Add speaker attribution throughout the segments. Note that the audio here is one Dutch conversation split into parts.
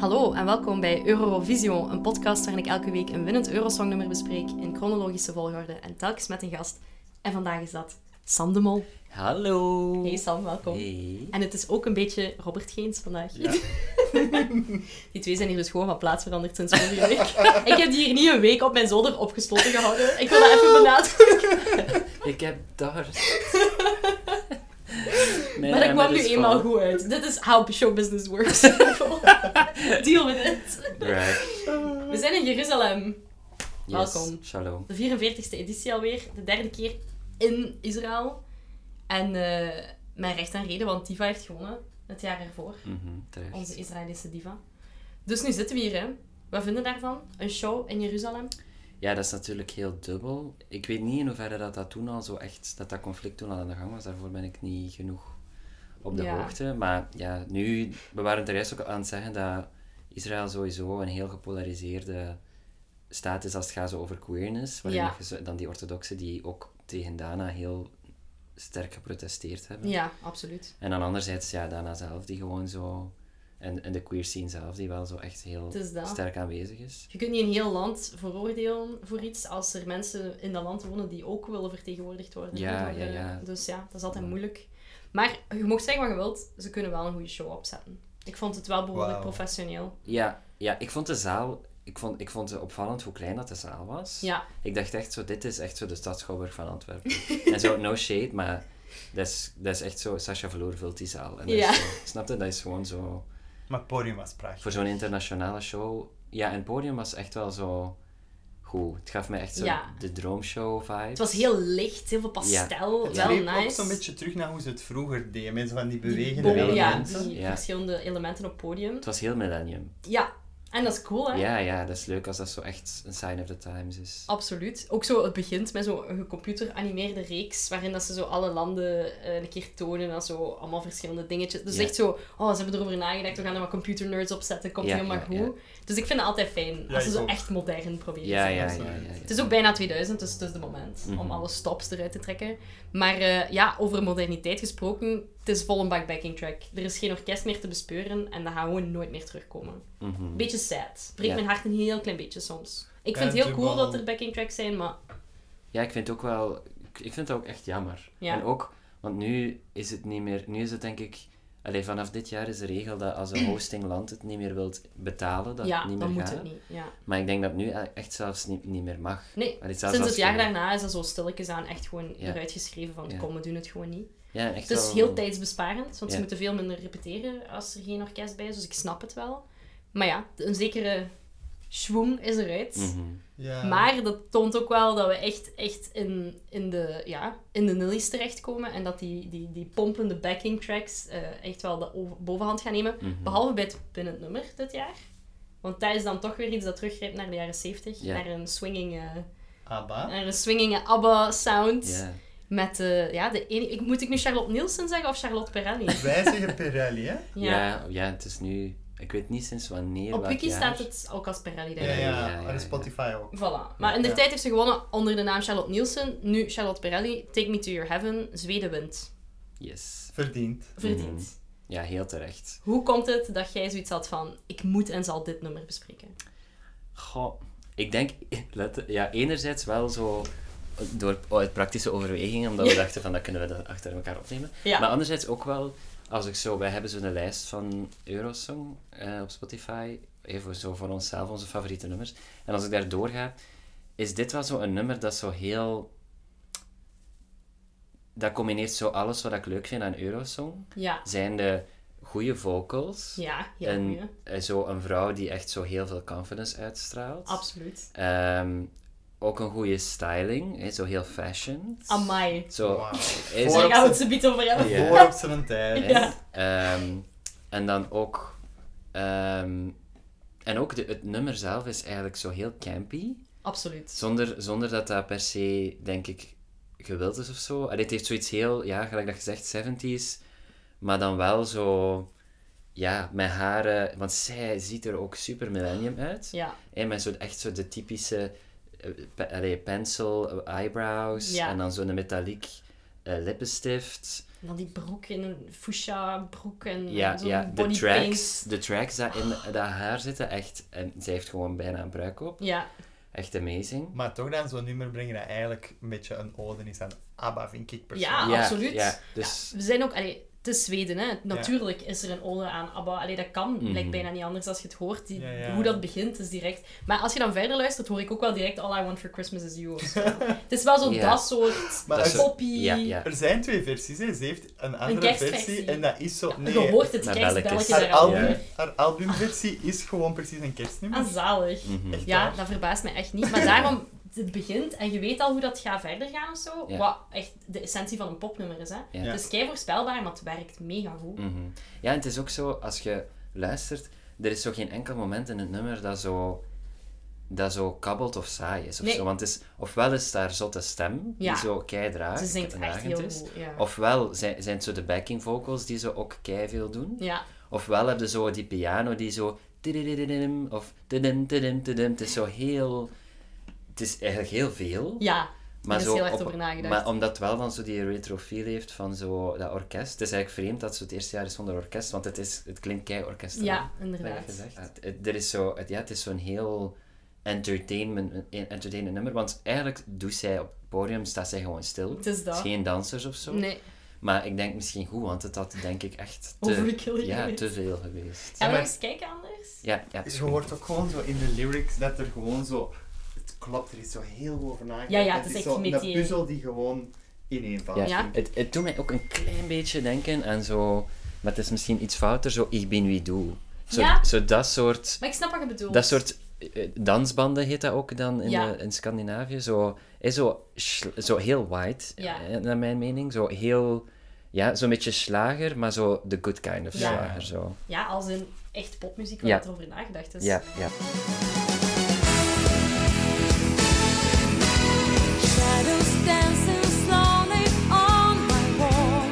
Speaker 1: Hallo en welkom bij Eurovisio, een podcast waarin ik elke week een winnend Eurosongnummer bespreek in chronologische volgorde en telkens met een gast. En vandaag is dat Sam de Mol.
Speaker 2: Hallo.
Speaker 1: Hey Sam, welkom.
Speaker 2: Hey.
Speaker 1: En het is ook een beetje Robert Geens vandaag.
Speaker 2: Ja.
Speaker 1: Die twee zijn hier dus gewoon van plaats veranderd sinds vorige week. ik heb die hier niet een week op mijn zolder opgesloten gehouden. Ik wil dat even benadrukken.
Speaker 2: Ik heb daar.
Speaker 1: Maar dat kwam nu eenmaal goed uit. Dit is how show business works. Deal with it.
Speaker 2: Right.
Speaker 1: We zijn in Jeruzalem.
Speaker 2: Yes.
Speaker 1: Welkom.
Speaker 2: Shalom.
Speaker 1: De 44e editie alweer. De derde keer in Israël. En eh, mijn recht aan reden, want Diva heeft gewonnen. Het jaar ervoor.
Speaker 2: Mhm, terecht.
Speaker 1: Onze Israëlische Diva. Dus nu zitten we hier, hè. Wat vinden we daarvan? Een show in Jeruzalem?
Speaker 2: Ja, dat is natuurlijk heel dubbel. Ik weet niet in hoeverre dat, dat toen al zo echt, dat dat conflict toen al aan de gang was. Daarvoor ben ik niet genoeg op de
Speaker 1: Ja.
Speaker 2: hoogte. Maar ja, nu, we waren er juist ook aan het zeggen dat Israël sowieso een heel gepolariseerde staat is als het gaat zo over queerness. Waarin
Speaker 1: Ja.
Speaker 2: dat je zo- dan die orthodoxen die ook tegen Dana heel sterk geprotesteerd hebben.
Speaker 1: Ja, absoluut.
Speaker 2: En dan anderzijds, ja, Dana zelf, die gewoon zo... En, en de queer scene zelf, die wel zo echt heel
Speaker 1: Het is dat.
Speaker 2: sterk aanwezig is.
Speaker 1: Je kunt niet een heel land veroordelen voor iets als er mensen in dat land wonen die ook willen vertegenwoordigd worden.
Speaker 2: Ja,
Speaker 1: Door de-
Speaker 2: ja, ja.
Speaker 1: Dus ja, dat is altijd moeilijk. Maar je mocht zeggen wat je wilt, ze kunnen wel een goede show opzetten. Ik vond het wel behoorlijk
Speaker 3: Wauw.
Speaker 1: professioneel.
Speaker 2: Ja, ja ik vond de zaal... Ik vond, ik vond het opvallend hoe klein dat de zaal was.
Speaker 1: Ja,
Speaker 2: Ik dacht echt zo, dit is echt zo de stadschouwburg van Antwerpen. en zo, no shade, maar dat is, dat is echt zo... Sascha Verloor vult die zaal. En dat is
Speaker 1: Ja.
Speaker 2: zo- snap je? Dat is gewoon zo...
Speaker 3: Maar het podium was prachtig.
Speaker 2: Voor zo'n internationale show... Ja, en het podium was echt wel zo... Goed. Het gaf me echt zo
Speaker 1: Ja.
Speaker 2: de droomshow vibe.
Speaker 1: het was heel licht, heel veel pastel,
Speaker 2: Het
Speaker 3: Het
Speaker 1: wel
Speaker 3: greep
Speaker 1: nice.
Speaker 3: ook zo'n beetje terug naar hoe ze het vroeger deden. Met zo van die
Speaker 1: Die
Speaker 3: bewegende
Speaker 1: bol- Ja,
Speaker 3: elementen.
Speaker 1: die
Speaker 2: Ja.
Speaker 1: verschillende elementen op het podium.
Speaker 2: Het was heel millennium.
Speaker 1: Ja, en dat is cool, hè?
Speaker 2: Ja, ja, dat is leuk als dat zo echt een sign of the times is.
Speaker 1: Absoluut. Ook zo, het begint met zo'n gecomputeranimeerde reeks, waarin dat ze zo alle landen eh, een keer tonen en dan zo allemaal verschillende dingetjes. Dus
Speaker 2: Ja.
Speaker 1: echt zo, oh, ze hebben erover nagedacht, we gaan er wat computernerds op zetten, komt
Speaker 2: Ja,
Speaker 1: helemaal
Speaker 2: ja,
Speaker 1: goed.
Speaker 2: ja.
Speaker 1: Dus ik vind het altijd fijn, als ze
Speaker 3: ik
Speaker 1: zo
Speaker 3: ook.
Speaker 1: echt modern proberen
Speaker 2: Ja,
Speaker 1: te zijn.
Speaker 2: ja, ja,
Speaker 3: dat is
Speaker 2: ja,
Speaker 3: leuk.
Speaker 2: ja.
Speaker 1: Het is ook bijna 2000, dus het is de moment om
Speaker 2: Mhm.
Speaker 1: alle stops eruit te trekken. Maar eh, ja, over moderniteit gesproken, het is vol een bak backing track. Er is geen orkest meer te bespeuren en dat gaat gewoon nooit meer terugkomen.
Speaker 2: Mhm.
Speaker 1: Beetje sad. Breekt
Speaker 2: Ja.
Speaker 1: mijn hart een heel klein beetje soms. Ik
Speaker 3: Ja,
Speaker 1: vind het heel
Speaker 3: toch
Speaker 1: cool
Speaker 3: wel.
Speaker 1: dat er backing tracks zijn, maar
Speaker 2: Ja, ik vind het ook wel... ik- Ik vind dat ook echt jammer.
Speaker 1: Ja.
Speaker 2: En ook, want nu is het niet meer... Nu is het denk ik... Allee, vanaf dit jaar is de regel dat als een hostingland het niet meer wilt betalen, dat
Speaker 1: ja,
Speaker 2: het niet meer
Speaker 1: dan moet
Speaker 2: gaat.
Speaker 1: het niet. Ja.
Speaker 2: Maar ik denk dat nu e- echt zelfs niet, niet meer mag.
Speaker 1: Nee,
Speaker 2: Allee, zelfs
Speaker 1: sinds het
Speaker 2: als
Speaker 1: jaar
Speaker 2: je-
Speaker 1: daarna is dat zo stilletjes aan echt gewoon
Speaker 2: Ja.
Speaker 1: eruit geschreven van
Speaker 2: Ja.
Speaker 1: kom, we doen het gewoon niet.
Speaker 2: Ja, echt
Speaker 1: Het is
Speaker 2: wel-
Speaker 1: heel tijdsbesparend, want ze
Speaker 2: Ja.
Speaker 1: moeten veel minder repeteren als er geen orkest bij is, dus ik snap het wel. Maar ja, een zekere schwung is eruit.
Speaker 2: Mhm.
Speaker 3: Ja.
Speaker 1: Maar dat toont ook wel dat we echt, echt in, in, de, ja, in de nillies terechtkomen. En dat die, die, die pompende backing tracks eh, echt wel de over- bovenhand gaan nemen.
Speaker 2: Mhm.
Speaker 1: Behalve bij het binnen het nummer dit jaar. Want dat is dan toch weer iets dat teruggrijpt naar de jaren 70.
Speaker 2: Ja.
Speaker 1: Naar een swinging, eh,
Speaker 3: Abba.
Speaker 1: naar een swinging ABBA-sound.
Speaker 2: Ja.
Speaker 1: Met eh, ja, de ene... ik, moet ik nu Charlotte Nielsen zeggen of Charlotte Perelli?
Speaker 3: Wij zeggen Pirelli, hè?
Speaker 2: Ja. ja. het is nu... Ik weet niet sinds wanneer,
Speaker 1: Op
Speaker 2: welk
Speaker 1: wiki
Speaker 2: jaar.
Speaker 1: staat het ook als Perelli, denk
Speaker 3: Ja,
Speaker 1: ik.
Speaker 3: ja.
Speaker 2: ja, ja, ja.
Speaker 3: En Spotify ook.
Speaker 1: Voilà. Maar in de
Speaker 3: Ja.
Speaker 1: tijd heeft ze gewonnen onder de naam Charlotte Nielsen. Nu Charlotte Perelli, Take Me To Your Heaven, Zweden wint.
Speaker 2: Yes.
Speaker 3: Verdiend.
Speaker 1: Verdiend.
Speaker 2: Ja, heel terecht.
Speaker 1: Hoe komt het dat jij zoiets had van, ik moet en zal dit nummer bespreken?
Speaker 2: Goh, ik denk, let- ja, enerzijds wel zo door oh, uit praktische overwegingen, omdat we
Speaker 1: Ja.
Speaker 2: dachten van dat kunnen we dat achter elkaar opnemen.
Speaker 1: Ja.
Speaker 2: Maar anderzijds ook wel, als ik zo, wij hebben zo'n lijst van Eurosong eh, op Spotify, even zo voor onszelf, onze favoriete nummers. En als ik daar doorga, is dit wel zo'n nummer dat zo heel. Dat combineert zo alles wat ik leuk vind aan Eurosong.
Speaker 1: Ja.
Speaker 2: Zijn de goede vocals.
Speaker 1: Ja, heel
Speaker 2: en
Speaker 1: goeie.
Speaker 2: eh, zo een vrouw die echt zo heel veel confidence uitstraalt.
Speaker 1: Absoluut.
Speaker 2: Ehm, ook een goede styling, hè, zo heel fashion.
Speaker 1: Amai.
Speaker 2: Zo,
Speaker 3: Wauw.
Speaker 2: hè, zo-
Speaker 1: Daar
Speaker 3: Voorop
Speaker 1: gaan we het
Speaker 3: zijn-
Speaker 1: zo biet over hebben.
Speaker 2: Ja.
Speaker 3: Voor op zijn tijd.
Speaker 2: hè.
Speaker 1: Ja.
Speaker 2: Ehm, en dan ook... ehm, en ook de, het nummer zelf is eigenlijk zo heel campy.
Speaker 1: Absoluut.
Speaker 2: Zonder, zonder dat dat per se, denk ik, gewild is of zo. Allee, het heeft zoiets heel, ja, gelijk dat je zegt, 70s. Maar dan wel zo... Ja, met haren... Want zij ziet er ook super millennium uit.
Speaker 1: Ja.
Speaker 2: Hey, met zo, echt zo de typische eh, pe- allee, pencil, eh, eyebrows
Speaker 1: Ja.
Speaker 2: en dan zo'n metalliek eh, lippenstift.
Speaker 1: En dan die broek in een fuchsia broek en
Speaker 2: Ja,
Speaker 1: Mm, zo'n
Speaker 2: ja de
Speaker 1: body
Speaker 2: tracks,
Speaker 1: paint.
Speaker 2: de tracks dat in dat haar zitten, echt. En zij heeft gewoon bijna een bruik op.
Speaker 1: Ja,
Speaker 2: Echt amazing.
Speaker 3: Maar toch dan zo'n nummer brengen dat eigenlijk een beetje een ode is aan ABBA, vind ik
Speaker 1: Ja,
Speaker 3: persoonlijk.
Speaker 1: absoluut.
Speaker 2: Ja, dus
Speaker 1: we zijn ook... Allee, het is Zweden, hè. Natuurlijk is er een ode aan ABBA. Allee, dat kan
Speaker 2: Mhm.
Speaker 1: lijkt bijna niet anders als je het hoort. Die,
Speaker 3: Ja, ja.
Speaker 1: Hoe dat begint is direct... Maar als je dan verder luistert, hoor ik ook wel direct All I Want For Christmas Is You. of zo. het is wel zo
Speaker 2: Ja.
Speaker 1: dat soort
Speaker 3: Maar
Speaker 2: dat is-
Speaker 1: poppy...
Speaker 2: ja, ja.
Speaker 3: Er zijn twee versies, hè. ze heeft een andere
Speaker 1: kerstversie.
Speaker 3: versie en dat is zo... Nee,
Speaker 1: Je hoort het
Speaker 2: Maar
Speaker 1: kerstbelletje
Speaker 2: welke
Speaker 3: haar,
Speaker 2: is-
Speaker 1: eraan.
Speaker 3: album,
Speaker 1: Ja.
Speaker 3: haar albumversie is gewoon precies een kerstnummer.
Speaker 1: Ah, zalig.
Speaker 2: Mhm.
Speaker 3: Echt
Speaker 1: Ja,
Speaker 3: waar.
Speaker 1: dat verbaast mij echt niet. Maar daarom, het begint en je weet al hoe dat gaat verder gaan of zo.
Speaker 2: Ja.
Speaker 1: Wat echt de essentie van een popnummer is. Hè?
Speaker 2: Ja.
Speaker 1: Het is kei voorspelbaar, maar het werkt mega goed.
Speaker 2: Mhm. Ja, en het is ook zo, als je luistert, er is zo geen enkel moment in het nummer dat zo, dat zo kabbelt of saai is. Of
Speaker 1: Nee.
Speaker 2: zo. Want het is, ofwel is daar zotte stem,
Speaker 1: Ja.
Speaker 2: die zo keidraag
Speaker 1: Ze zingt echt
Speaker 2: dragend
Speaker 1: heel
Speaker 2: is.
Speaker 1: goed, ja.
Speaker 2: Ofwel zijn, zijn het zo de backing vocals die ze ook kei veel doen.
Speaker 1: Ja.
Speaker 2: Ofwel heb je zo die piano die zo... tididididim Of... tidim, tidim, tidim. Het is zo heel... Het is eigenlijk heel veel.
Speaker 1: Ja,
Speaker 2: Maar
Speaker 1: er is
Speaker 2: zo
Speaker 1: heel erg
Speaker 2: op-
Speaker 1: over nagedacht.
Speaker 2: Maar omdat het wel dan zo die retrofiel heeft van zo dat orkest. Het is eigenlijk vreemd dat ze het eerste jaar is zonder orkest, want het, is, het klinkt kei orkestaal.
Speaker 1: ja, inderdaad.
Speaker 2: gezegd. Ja, het- het- er is zo, het, ja, het is zo'n heel entertainment, een entertainend nummer, want eigenlijk doet zij op het podium, staat zij gewoon stil.
Speaker 1: Het is dat.
Speaker 2: geen dansers of zo.
Speaker 1: Nee.
Speaker 2: Maar ik denk misschien goed, want het had denk ik echt te,
Speaker 1: Overkill
Speaker 2: ja,
Speaker 1: geweest.
Speaker 2: te veel geweest.
Speaker 1: Gaan we
Speaker 3: maar-
Speaker 1: nog eens kijken anders?
Speaker 2: Ja, ja,
Speaker 3: Je hoort ook gewoon zo in de lyrics dat er gewoon zo... Het klopt, er is zo heel goed over nagedacht.
Speaker 1: Ja, ja,
Speaker 3: Dat
Speaker 1: het is
Speaker 3: is
Speaker 1: echt
Speaker 3: zo een
Speaker 1: meteen-
Speaker 3: puzzel die gewoon ineenvalt.
Speaker 2: Ja,
Speaker 1: Ja.
Speaker 2: Het, het doet mij ook een klein beetje denken aan zo... Maar het is misschien iets fouter, zo Ik ben wie doe. Zo,
Speaker 1: Ja.
Speaker 2: zo dat soort...
Speaker 1: Maar ik snap wat je bedoelt.
Speaker 2: Dat soort eh, dansbanden heet dat ook dan in,
Speaker 1: Ja.
Speaker 2: eh, in Scandinavië. Zo, is zo, sl- zo heel white,
Speaker 1: Ja.
Speaker 2: eh, naar mijn mening. Zo heel... Ja, zo'n beetje slager, maar zo the good kind of
Speaker 1: Ja.
Speaker 2: slager. Zo.
Speaker 1: Ja, als in echt popmuziek waar
Speaker 2: Ja.
Speaker 1: het erover nagedacht is.
Speaker 2: Ja, ja.
Speaker 4: Shadows dancing slowly on my wall.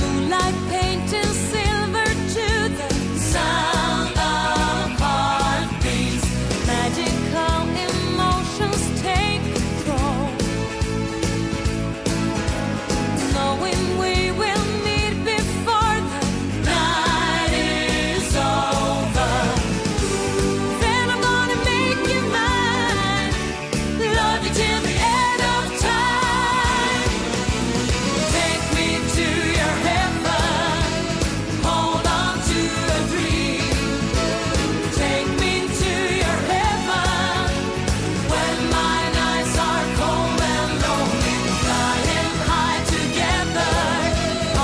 Speaker 4: Moonlight painting silver to the sound of heartbeats. Magical emotions take control. Knowing we will meet before the night is over. Then I'm gonna make you mine. Love you till the end of time. Take me to your heaven. Hold on to a dream. Take me to your heaven. When my nights are cold and lonely, flying high together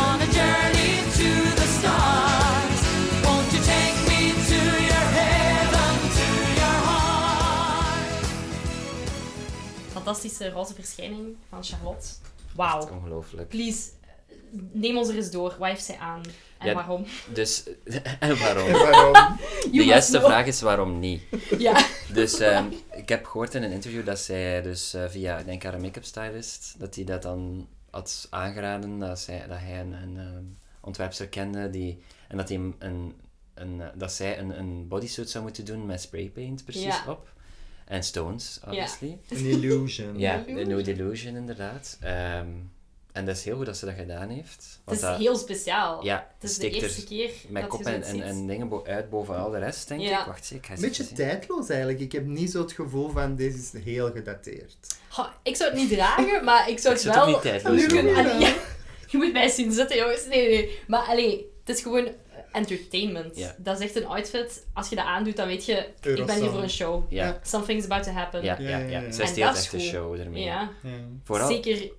Speaker 4: on a journey to the stars. Won't you take me to your heaven, to your heart?
Speaker 1: Fantastische roze verschijning van Charlotte.
Speaker 2: Echt
Speaker 1: Wauw.
Speaker 2: Ongelooflijk.
Speaker 1: Please, eh, neem ons er eens door. Wat heeft zij aan? En
Speaker 2: Ja,
Speaker 1: waarom?
Speaker 2: Dus, en waarom?
Speaker 3: En waarom?
Speaker 2: De
Speaker 1: must
Speaker 2: juiste
Speaker 1: know.
Speaker 2: vraag is waarom niet.
Speaker 1: Ja.
Speaker 2: Dus ehm, ik heb gehoord in een interview dat zij dus eh, via, ik denk haar make-up stylist, dat hij dat dan had aangeraden, dat, zij, dat hij een, een ehm, ontwerpster kende die, en dat, hij hem een, een, eh, dat zij een, een bodysuit zou moeten doen met spraypaint precies
Speaker 1: Ja.
Speaker 2: op. En stones, obviously.
Speaker 3: Een illusion.
Speaker 2: Ja,
Speaker 1: Delusion.
Speaker 2: No Delusion inderdaad. Ehm, en dat is heel goed dat ze dat gedaan heeft.
Speaker 1: Het is
Speaker 2: dat,
Speaker 1: heel speciaal.
Speaker 2: eh, ja,
Speaker 1: Het is de
Speaker 2: steekt er
Speaker 1: eerste keer
Speaker 2: Mijn
Speaker 1: dat
Speaker 2: kop
Speaker 1: je
Speaker 2: en,
Speaker 1: zoiets
Speaker 2: en,
Speaker 1: ziet.
Speaker 2: en dingen bo- uit boven al de rest, denk
Speaker 1: Ja.
Speaker 2: ik. Wacht, zie, ik ga
Speaker 3: Een
Speaker 2: eens
Speaker 3: beetje
Speaker 2: even zien.
Speaker 3: tijdloos eigenlijk. Ik heb niet zo het gevoel van deze is heel gedateerd.
Speaker 1: Ha, ik zou het niet dragen, maar ik zou
Speaker 2: Ik
Speaker 1: het
Speaker 2: zou het
Speaker 1: wel...
Speaker 2: ook niet tijdloos
Speaker 1: Lukken-
Speaker 3: noemen.
Speaker 1: Allee, ja. Je moet mij eens zien zitten, jongens. Nee, nee. Maar allee, het is gewoon eh, entertainment.
Speaker 2: Ja.
Speaker 1: Dat is echt een outfit. Als je dat aandoet, dan weet je, ik ben
Speaker 3: Eurosong.
Speaker 1: hier voor een show.
Speaker 2: Ja,
Speaker 1: Something's about to happen.
Speaker 2: Ja,
Speaker 3: Ja,
Speaker 2: ja,
Speaker 3: ja,
Speaker 2: ja.
Speaker 3: ja.
Speaker 2: Zij
Speaker 1: En
Speaker 2: steelt
Speaker 1: dat is
Speaker 2: echt de
Speaker 1: goed.
Speaker 2: show ermee.
Speaker 1: Ja,
Speaker 3: Ja.
Speaker 2: Vooral,
Speaker 1: zeker.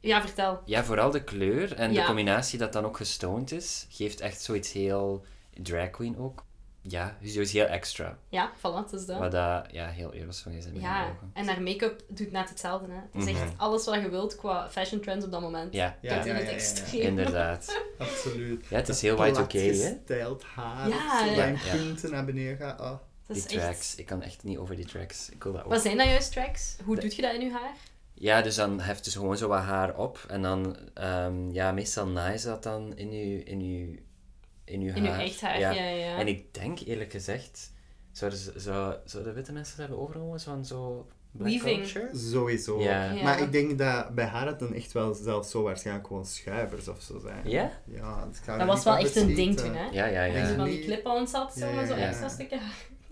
Speaker 1: Ja, vertel.
Speaker 2: ja, vooral de kleur en de
Speaker 1: Ja.
Speaker 2: combinatie dat dan ook gestoond is, geeft echt zoiets heel drag queen ook. Ja, dus zoiets heel extra.
Speaker 1: Ja, voilà, het is dat.
Speaker 2: Wat dat ja, heel Eurosong is in mijn
Speaker 1: Ja,
Speaker 2: ogen.
Speaker 1: en haar make-up doet net hetzelfde. Hè. Het is echt
Speaker 2: Mhm.
Speaker 1: alles wat je wilt qua fashion trends op dat moment.
Speaker 2: Ja,
Speaker 3: Ja,
Speaker 1: dat
Speaker 3: ja,
Speaker 1: in het
Speaker 3: ja, ja, ja.
Speaker 1: extreem.
Speaker 2: inderdaad.
Speaker 3: Absoluut.
Speaker 2: Ja, het is heel white oké, hè?
Speaker 3: Gestyled haar.
Speaker 1: Ja,
Speaker 3: Ja,
Speaker 1: ja.
Speaker 3: ja.
Speaker 2: Ja.
Speaker 3: punten naar beneden gaat. Oh.
Speaker 1: Dat
Speaker 2: Die
Speaker 1: is echt...
Speaker 2: tracks, ik kan echt niet over die tracks. Ik wil dat ook.
Speaker 1: Wat zijn dat juist tracks? Hoe doet je dat in je haar?
Speaker 2: Ja, dus dan heft ze gewoon zo wat haar op en dan, ehm, ja, meestal naait dat dan in je, in je, in je haar.
Speaker 1: In je echt haar? Ja, ja. ja.
Speaker 2: En ik denk eerlijk gezegd, zouden, ze, zou, zouden witte mensen dat hebben overgenomen? Zo'n zo Black
Speaker 1: Weaving.
Speaker 2: culture?
Speaker 3: Sowieso.
Speaker 2: Ja.
Speaker 1: Ja.
Speaker 3: Maar ik denk dat bij haar het dan echt wel zelfs zo waarschijnlijk gewoon schuivers of zo zijn.
Speaker 2: Ja?
Speaker 3: Ja, het eh, gaat
Speaker 1: Dat was wel echt een ding toen, hè?
Speaker 2: Ja, ja,
Speaker 1: Dat je
Speaker 2: ja.
Speaker 1: van die clip-ons had, zo,
Speaker 3: Ja,
Speaker 1: met zo
Speaker 3: ja, ja.
Speaker 1: extra stikken.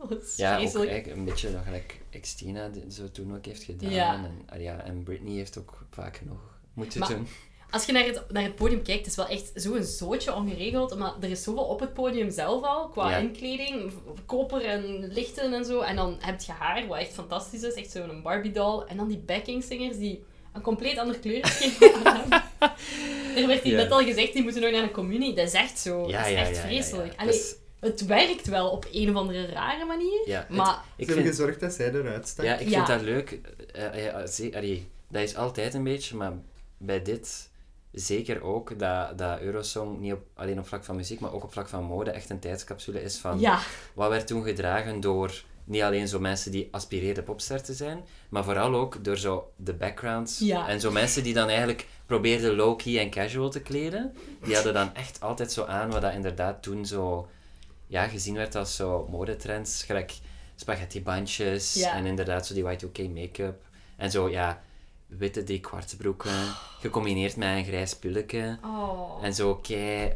Speaker 1: Dat is
Speaker 2: Ja, ook
Speaker 1: vreselijk.
Speaker 2: eigenlijk een beetje nog gelijk Xtina die- zo toen ook heeft gedaan.
Speaker 1: Ja.
Speaker 2: En, ah ja, en Britney heeft ook vaak genoeg moeten
Speaker 1: Maar-
Speaker 2: doen.
Speaker 1: Als je naar het, naar het podium kijkt, het is wel echt zo'n zootje ongeregeld. Maar er is zoveel op het podium zelf al, qua
Speaker 2: Ja.
Speaker 1: inkleding, v- koper en lichten en zo. En dan heb je haar, wat echt fantastisch is, echt zo'n Barbie-doll. En dan die backingzingers die een compleet ander kleurschema hebben. Er werd hier
Speaker 2: Ja.
Speaker 1: net al gezegd, die moeten nog naar een communie. Dat is echt zo.
Speaker 2: Ja,
Speaker 1: dat is
Speaker 2: ja,
Speaker 1: echt
Speaker 2: ja, ja, ja.
Speaker 1: vreselijk.
Speaker 2: Dat
Speaker 1: Allee,
Speaker 2: is-
Speaker 1: het werkt wel op een of andere rare manier.
Speaker 2: Ja, het-
Speaker 1: maar
Speaker 3: Ik
Speaker 2: Ik
Speaker 3: heb
Speaker 2: vind,
Speaker 3: gezorgd dat zij eruit stak.
Speaker 2: ja, ik
Speaker 1: Ja.
Speaker 2: vind dat leuk. Eh, ja, ze- allee, dat is altijd een beetje, maar bij dit zeker ook dat, dat Eurosong niet op, alleen op vlak van muziek, maar ook op vlak van mode echt een tijdscapsule is van
Speaker 1: ja,
Speaker 2: wat werd toen gedragen door niet alleen zo mensen die aspireerden popster te zijn, maar vooral ook door zo de backgrounds.
Speaker 1: Ja.
Speaker 2: En zo mensen die dan eigenlijk probeerden low-key en casual te kleden, die hadden dan echt altijd zo aan wat dat inderdaad toen zo ja, gezien werd als zo modetrends, gelijk spaghettibandjes
Speaker 1: Ja.
Speaker 2: en inderdaad zo die Y2K make-up. En zo, ja, witte drie broeken, gecombineerd met een grijs pulletje.
Speaker 1: oh,
Speaker 2: En zo kei,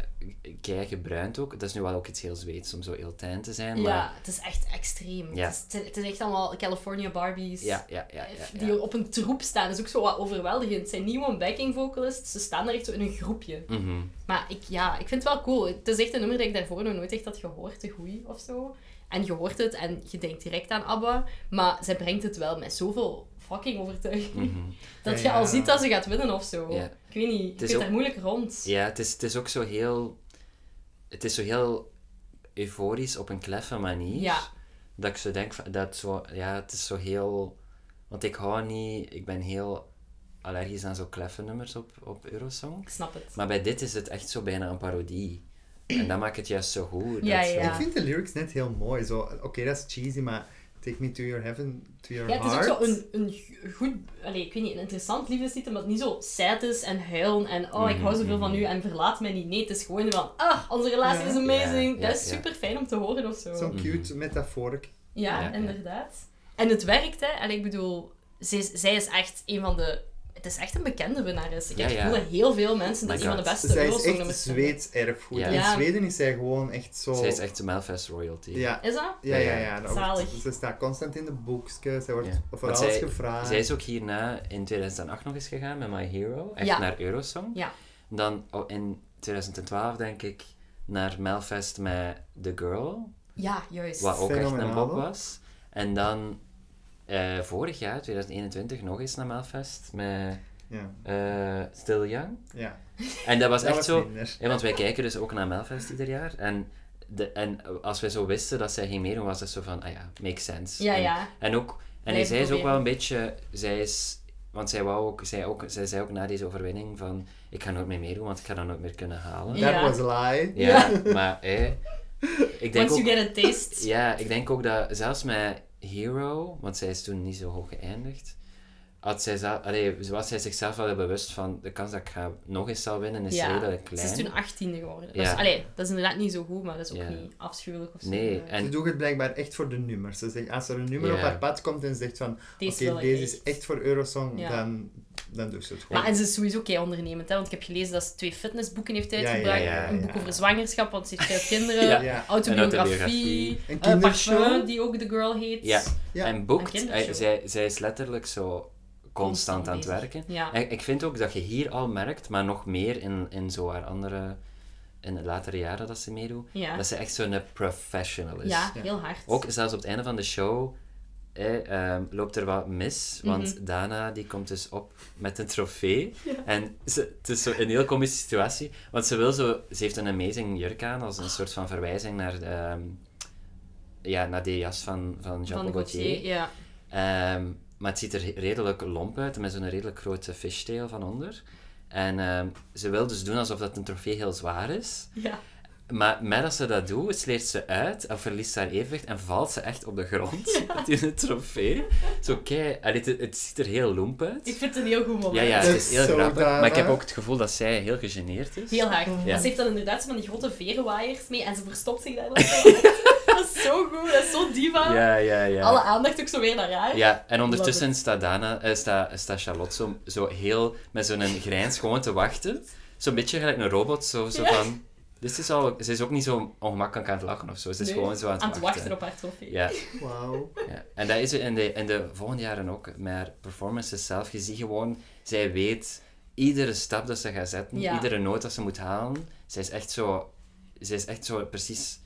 Speaker 2: kei gebruind ook. Dat is nu wel ook iets heel Zweeds om zo heel teint te zijn, maar...
Speaker 1: ja, het is echt extreem.
Speaker 2: Ja.
Speaker 1: Het, is, het is echt allemaal California Barbies. eh,
Speaker 2: Ja, ja, ja. ja, ja.
Speaker 1: die op een troep staan. Dat is ook zo wat overweldigend. Het zijn niet gewoon backing vocalists, ze staan daar echt zo in een groepje.
Speaker 2: Mhm.
Speaker 1: Maar ik, ja, ik vind het wel cool. Het is echt een nummer dat ik daarvoor nog nooit echt had gehoord, de goeie of zo. En je hoort het en je denkt direct aan ABBA, maar zij brengt het wel met zoveel fucking overtuiging.
Speaker 2: Mhm.
Speaker 1: Dat je
Speaker 3: Ja, ja.
Speaker 1: al ziet dat ze gaat winnen of zo.
Speaker 2: Ja.
Speaker 1: Ik weet niet, ik
Speaker 2: is
Speaker 1: weet
Speaker 2: ook-
Speaker 1: daar moeilijk rond.
Speaker 2: Ja, het is, het is ook zo heel... Het is zo heel euforisch op een kleffe manier.
Speaker 1: Ja.
Speaker 2: Dat ik zo denk, van- dat zo... Ja, het is zo heel... Want ik hou niet... Ik ben heel allergisch aan zo kleffe nummers op, op Eurosong.
Speaker 1: Ik snap het.
Speaker 2: Maar bij dit is het echt zo bijna een parodie. En dat maakt het juist zo goed.
Speaker 1: Ja,
Speaker 2: dat zo-
Speaker 1: ja.
Speaker 3: Ik vind de lyrics net heel mooi. Zo, oké, dat is cheesy, maar take me to your heaven, to your
Speaker 1: Ja, het is ook zo
Speaker 3: heart.
Speaker 1: een, een g- goed, allez, ik weet niet, een interessant liefdeslied, omdat het niet zo sad is en huilen en oh, ik hou
Speaker 2: Mhm,
Speaker 1: zoveel van u en verlaat mij niet. Nee, het is gewoon van, ah, onze relatie
Speaker 3: Ja.
Speaker 1: is amazing.
Speaker 2: Ja,
Speaker 1: dat is
Speaker 2: ja, ja.
Speaker 1: super fijn om te horen of zo.
Speaker 3: Zo'n
Speaker 2: Mhm.
Speaker 3: cute metafoor.
Speaker 1: Ja,
Speaker 2: Ja, ja.
Speaker 1: inderdaad. En het werkt, hè. En ik bedoel, zij, is- zij is echt een van de... Het is echt een bekende winnares. Ik
Speaker 2: Ja,
Speaker 1: heb het
Speaker 2: ja.
Speaker 1: gevoel dat heel veel mensen dit
Speaker 2: My
Speaker 1: een van de
Speaker 2: God.
Speaker 1: beste
Speaker 3: Zij is echt
Speaker 1: Eurosongnummers vinden.
Speaker 3: Zweeds erfgoed.
Speaker 2: Ja.
Speaker 3: In
Speaker 1: Ja.
Speaker 3: Zweden is zij gewoon echt zo...
Speaker 2: Zij is echt Melfast royalty.
Speaker 3: Ja,
Speaker 1: Is dat?
Speaker 3: Ja, ja, ja. dat wordt-
Speaker 1: Zalig.
Speaker 3: ze staat constant in de boekjes, ze wordt
Speaker 2: Ja.
Speaker 3: voor
Speaker 2: Want
Speaker 3: alles
Speaker 2: zij-
Speaker 3: gevraagd.
Speaker 2: Zij is ook hierna in 2008 nog eens gegaan met My Hero, echt
Speaker 1: Ja.
Speaker 2: naar Eurosong.
Speaker 1: Ja.
Speaker 2: Dan oh, in 2012 denk ik naar Melfest met The Girl,
Speaker 1: Ja, juist.
Speaker 2: wat ook echt een
Speaker 3: Fenomenaal.
Speaker 2: pop was. En dan eh, vorig jaar, 2021, nog eens naar Melfest met
Speaker 3: Ja,
Speaker 2: eh, Still Young.
Speaker 3: ja.
Speaker 2: En dat was
Speaker 3: Dat
Speaker 2: echt
Speaker 3: was
Speaker 2: zo...
Speaker 3: minder.
Speaker 2: Ja, want wij kijken dus ook naar Melfest ieder jaar. En, de, en als wij zo wisten dat zij ging meedoen, was dat zo van, ah ja, makes sense.
Speaker 1: Ja,
Speaker 2: en,
Speaker 1: ja.
Speaker 2: En, ook, en
Speaker 1: Blijven
Speaker 2: zij is ook
Speaker 1: proberen.
Speaker 2: wel een beetje, zij is, want zij, wou ook, zij, ook, zij zei ook na deze overwinning van, ik ga nooit meer meedoen, want ik ga dat nooit meer kunnen halen.
Speaker 1: Ja.
Speaker 3: That was a lie.
Speaker 2: Ja, maar eh, ik denk
Speaker 1: Once
Speaker 2: ook,
Speaker 1: you get a taste.
Speaker 2: ja, ik denk ook dat zelfs met Hero, want zij is toen niet zo hoog geëindigd, had zij zelf, allee, was zij zichzelf wel bewust van de kans dat ik ga nog eens zal winnen is redelijk klein.
Speaker 1: ze is toen 18 geworden.
Speaker 2: Ja.
Speaker 1: Dus, allee, dat is inderdaad niet zo goed, maar dat is ook
Speaker 2: Ja.
Speaker 1: niet afschuwelijk of zo.
Speaker 2: Nee,
Speaker 1: Maar-
Speaker 2: en
Speaker 3: Ze doet het blijkbaar echt voor de nummers. Ze zegt, als er een nummer
Speaker 2: Ja.
Speaker 3: op haar pad komt en ze zegt van, oké,
Speaker 1: Deze wil ik
Speaker 3: deze is
Speaker 1: echt.
Speaker 3: echt voor Eurosong,
Speaker 1: Ja.
Speaker 3: dan, dan doet ze het gewoon.
Speaker 1: Maar en ze is sowieso kei ondernemend, hè? want ik heb gelezen dat ze twee fitnessboeken heeft
Speaker 3: ja,
Speaker 1: uitgebracht.
Speaker 2: ja,
Speaker 1: een
Speaker 3: ja.
Speaker 1: boek over zwangerschap, want ze heeft veel kinderen.
Speaker 2: Ja.
Speaker 3: Ja.
Speaker 2: Een
Speaker 1: Autobiografie.
Speaker 2: autobiografie.
Speaker 1: Een
Speaker 3: Een
Speaker 1: eh,
Speaker 3: kindershow.
Speaker 1: Parfum, die ook The Girl heet.
Speaker 2: Ja.
Speaker 3: Ja.
Speaker 2: En boekt,
Speaker 1: Een
Speaker 2: eh,
Speaker 1: kindershow.
Speaker 2: zij, zij is letterlijk zo constant
Speaker 1: Constant
Speaker 2: aan het
Speaker 1: bezig.
Speaker 2: werken.
Speaker 1: Ja.
Speaker 2: En ik vind ook dat je hier al merkt, maar nog meer in, in zo haar andere, in de latere jaren dat ze meedoet,
Speaker 1: Ja.
Speaker 2: dat ze echt zo'n professional is.
Speaker 1: Ja, heel hard.
Speaker 2: Ook zelfs op het einde van de show eh, ehm, loopt er wat mis, want
Speaker 1: Mhm.
Speaker 2: Dana die komt dus op met een trofee. En ze, het is zo een heel komische situatie, want ze wil zo, ze heeft een amazing jurk aan als
Speaker 1: Ah.
Speaker 2: een soort van verwijzing naar, ehm, ja, naar die jas van, van
Speaker 1: van
Speaker 2: Jean-Paul Gaultier.
Speaker 1: Gauthier. Ja.
Speaker 2: Ehm, maar het ziet er redelijk lomp uit, met zo'n redelijk grote fishtail van onder. En ehm, ze wil dus doen alsof dat een trofee heel zwaar is.
Speaker 1: ja.
Speaker 2: Maar met als ze dat doet, sleert ze uit en verliest ze haar evenwicht en valt ze echt op de grond. Met die trofee. Zo kei... Allee, het, het ziet er heel lomp
Speaker 1: Ik
Speaker 2: uit.
Speaker 1: vind het een heel goed moment.
Speaker 2: Ja, ja,
Speaker 3: Dat
Speaker 2: het is
Speaker 3: is
Speaker 2: heel
Speaker 3: zo
Speaker 2: grappig.
Speaker 3: raar,
Speaker 2: Maar ik heb
Speaker 3: hè?
Speaker 2: ook het gevoel dat zij heel gegeneerd is.
Speaker 1: Heel hard.
Speaker 2: Ja.
Speaker 1: Ze heeft dan inderdaad zo van die grote verenwaaiers mee en ze verstopt zich daar. dan zo achter. dat is zo goed, dat is zo diva.
Speaker 2: Ja, ja, ja.
Speaker 1: Alle aandacht ook zo weer naar haar.
Speaker 2: Ja, en ondertussen staat, Dana, eh, staat, staat Charlotte zo, zo heel met zo'n grijns gewoon te wachten. Zo'n beetje gelijk een robot, zo, zo
Speaker 1: Ja.
Speaker 2: van... Dit is al, ze is ook niet zo ongemakkelijk aan het lachen of zo. Ze is
Speaker 1: Nee,
Speaker 2: gewoon zo aan het, wachten.
Speaker 1: op haar trofee.
Speaker 2: Ja,
Speaker 3: Wauw.
Speaker 2: ja. En dat is in de, in de volgende jaren ook. Met haar performances zelf. Je ziet gewoon, zij weet iedere stap dat ze gaat zetten.
Speaker 1: Ja.
Speaker 2: Iedere noot dat ze moet halen. Zij is echt zo... Zij is echt zo precies...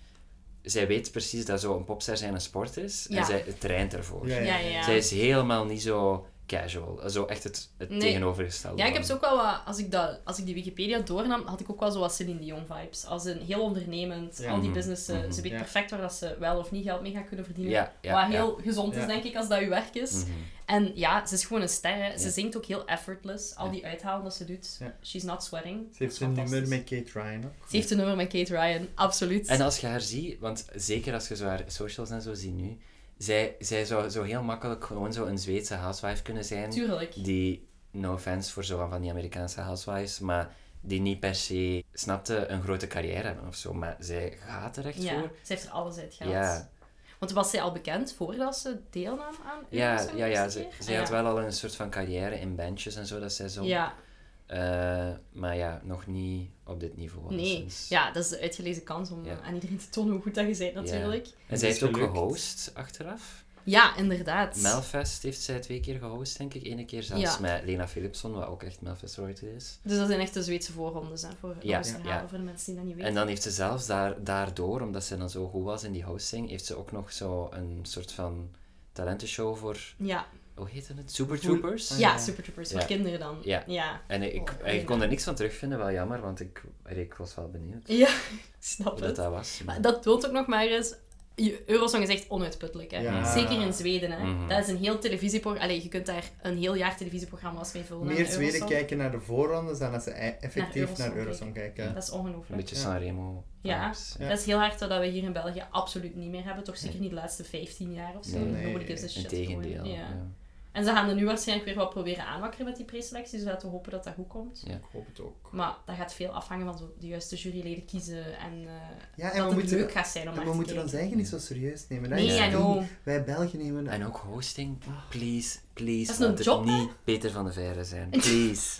Speaker 2: Zij weet precies dat zo'n popster zijn een sport is.
Speaker 1: Ja.
Speaker 2: En zij traint ervoor.
Speaker 3: Ja,
Speaker 1: Ja, ja, ja.
Speaker 2: Zij is helemaal niet zo casual. Zo echt het, het
Speaker 1: Nee.
Speaker 2: tegenovergestelde.
Speaker 1: Ja, ik
Speaker 2: van-
Speaker 1: heb ze ook wel wat... Als ik, dat, als ik die Wikipedia doornam, had ik ook wel zo wat Celine Dion vibes. Als een heel ondernemend,
Speaker 3: Ja.
Speaker 1: al die
Speaker 2: Mhm.
Speaker 1: businessen.
Speaker 2: Mhm.
Speaker 1: Ze weet
Speaker 3: Ja.
Speaker 1: perfect waar dat ze wel of niet geld mee gaat kunnen verdienen.
Speaker 2: Ja, ja,
Speaker 1: wat
Speaker 2: ja.
Speaker 1: heel gezond is,
Speaker 3: Ja.
Speaker 1: denk ik, als dat uw werk is.
Speaker 2: Mhm.
Speaker 1: En ja, ze is gewoon een ster. hè. Ze
Speaker 2: Ja.
Speaker 1: zingt ook heel effortless. Al die uithalen dat ze doet.
Speaker 3: Ja.
Speaker 1: She's not sweating.
Speaker 3: Ze heeft
Speaker 1: Dat
Speaker 3: een
Speaker 1: is
Speaker 3: nummer
Speaker 1: fantastisch.
Speaker 3: met Kate Ryan ook.
Speaker 1: Ze heeft een nummer met Kate Ryan, absoluut.
Speaker 2: En als je haar ziet, want zeker als je zo haar socials en zo ziet nu, zij, zij zou zo heel makkelijk gewoon zo een Zweedse housewife kunnen zijn.
Speaker 1: Tuurlijk.
Speaker 2: Die, no offense voor zo van die Amerikaanse housewives, maar die niet per se snapte een grote carrière hebben of zo. Maar zij gaat er echt
Speaker 1: Ja,
Speaker 2: voor.
Speaker 1: ze heeft er alles uit gehaald.
Speaker 2: Ja,
Speaker 1: Want was zij al bekend voordat ze deelnam aan
Speaker 2: ja,
Speaker 1: Eurovision
Speaker 2: ja, ja.
Speaker 1: de
Speaker 2: Ze,
Speaker 1: eerste keer?
Speaker 2: zij had
Speaker 1: Ah,
Speaker 2: wel al een soort van carrière in bandjes en zo dat zij zong.
Speaker 1: Ja,
Speaker 2: Eh, maar ja, nog niet op dit niveau.
Speaker 1: nee.
Speaker 2: alleszins.
Speaker 1: Ja, dat is de uitgelezen kans om eh,
Speaker 2: Ja.
Speaker 1: aan iedereen te tonen hoe goed dat je bent, natuurlijk. Ja,
Speaker 2: En zij
Speaker 3: Het is
Speaker 2: heeft ook
Speaker 3: gelukt.
Speaker 2: gehost achteraf.
Speaker 1: inderdaad.
Speaker 2: Melfest heeft zij twee keer gehost, denk ik. Eén keer zelfs
Speaker 1: Ja.
Speaker 2: met Lena Philipson, wat ook echt Melfest royalty is.
Speaker 1: Dus dat zijn echt de Zweedse voorrondes, hè, voor
Speaker 2: Ja,
Speaker 1: ja,
Speaker 2: ja.
Speaker 1: voor de mensen die dat niet weten.
Speaker 2: En dan heeft ze zelfs daar, daardoor, omdat ze dan zo goed was in die hosting, heeft ze ook nog zo een soort van talentenshow voor,
Speaker 1: Ja,
Speaker 2: hoe heette het? Super
Speaker 3: Voel-
Speaker 2: Troopers?
Speaker 3: Ah,
Speaker 1: ja
Speaker 3: ja.
Speaker 1: Super Troopers,
Speaker 2: Oh, Ja.
Speaker 1: voor kinderen dan.
Speaker 2: Ja.
Speaker 1: Ja,
Speaker 2: En ik,
Speaker 1: Oh,
Speaker 2: ik kon er niks van terugvinden, wel jammer, want ik, ik was wel benieuwd
Speaker 1: ja ik snap
Speaker 2: hoe
Speaker 1: het.
Speaker 2: dat, dat was.
Speaker 1: Maar dat toont ook nog maar eens... je- Eurosong is echt onuitputtelijk. Hè?
Speaker 3: Ja.
Speaker 1: Zeker in Zweden. Hè?
Speaker 2: Mhm.
Speaker 1: Dat is een heel televisieprogramma. Allee, je kunt daar een heel jaar televisieprogramma's mee vullen.
Speaker 3: Meer
Speaker 1: aan
Speaker 3: Zweden
Speaker 1: Eurosong.
Speaker 3: kijken naar de voorrondes dan dat ze e- effectief
Speaker 1: Naar Eurosong
Speaker 3: naar Eurosong kijken.
Speaker 1: Dat is
Speaker 2: Een
Speaker 1: ongelooflijk.
Speaker 2: beetje
Speaker 3: Ja.
Speaker 2: Sanremo.
Speaker 1: Ja.
Speaker 2: vibes.
Speaker 3: Ja.
Speaker 1: Dat is heel hard dat we hier in België absoluut niet meer hebben. Toch zeker niet de laatste 15 jaar of zo.
Speaker 2: Nee.
Speaker 1: Nee,
Speaker 3: Nee.
Speaker 1: Nobody gives a shit.
Speaker 2: Integendeel.
Speaker 1: gewoon. Ja.
Speaker 2: ja.
Speaker 1: En ze gaan er nu waarschijnlijk weer wat proberen aanwakkeren met die preselectie. Dus laten we hopen dat dat goed komt.
Speaker 2: Ja.
Speaker 3: Ik hoop het ook.
Speaker 1: Maar dat gaat veel afhangen van zo de juiste juryleden kiezen. En, eh,
Speaker 3: Ja, en
Speaker 1: dat
Speaker 3: we
Speaker 1: het
Speaker 3: moeten,
Speaker 1: leuk gaat zijn om
Speaker 3: en
Speaker 1: naar
Speaker 3: we
Speaker 1: te
Speaker 3: moeten
Speaker 1: kijken.
Speaker 3: ons eigen niet zo serieus nemen. Dat is
Speaker 1: Nee,
Speaker 3: het
Speaker 1: I
Speaker 2: Ja.
Speaker 1: know.
Speaker 3: ding. Wij Belgen nemen dat.
Speaker 2: En ook hosting. Please, please.
Speaker 1: Ah. Dat is een
Speaker 2: laat het
Speaker 1: job, hè?
Speaker 2: niet Peter van de Veire zijn. Please.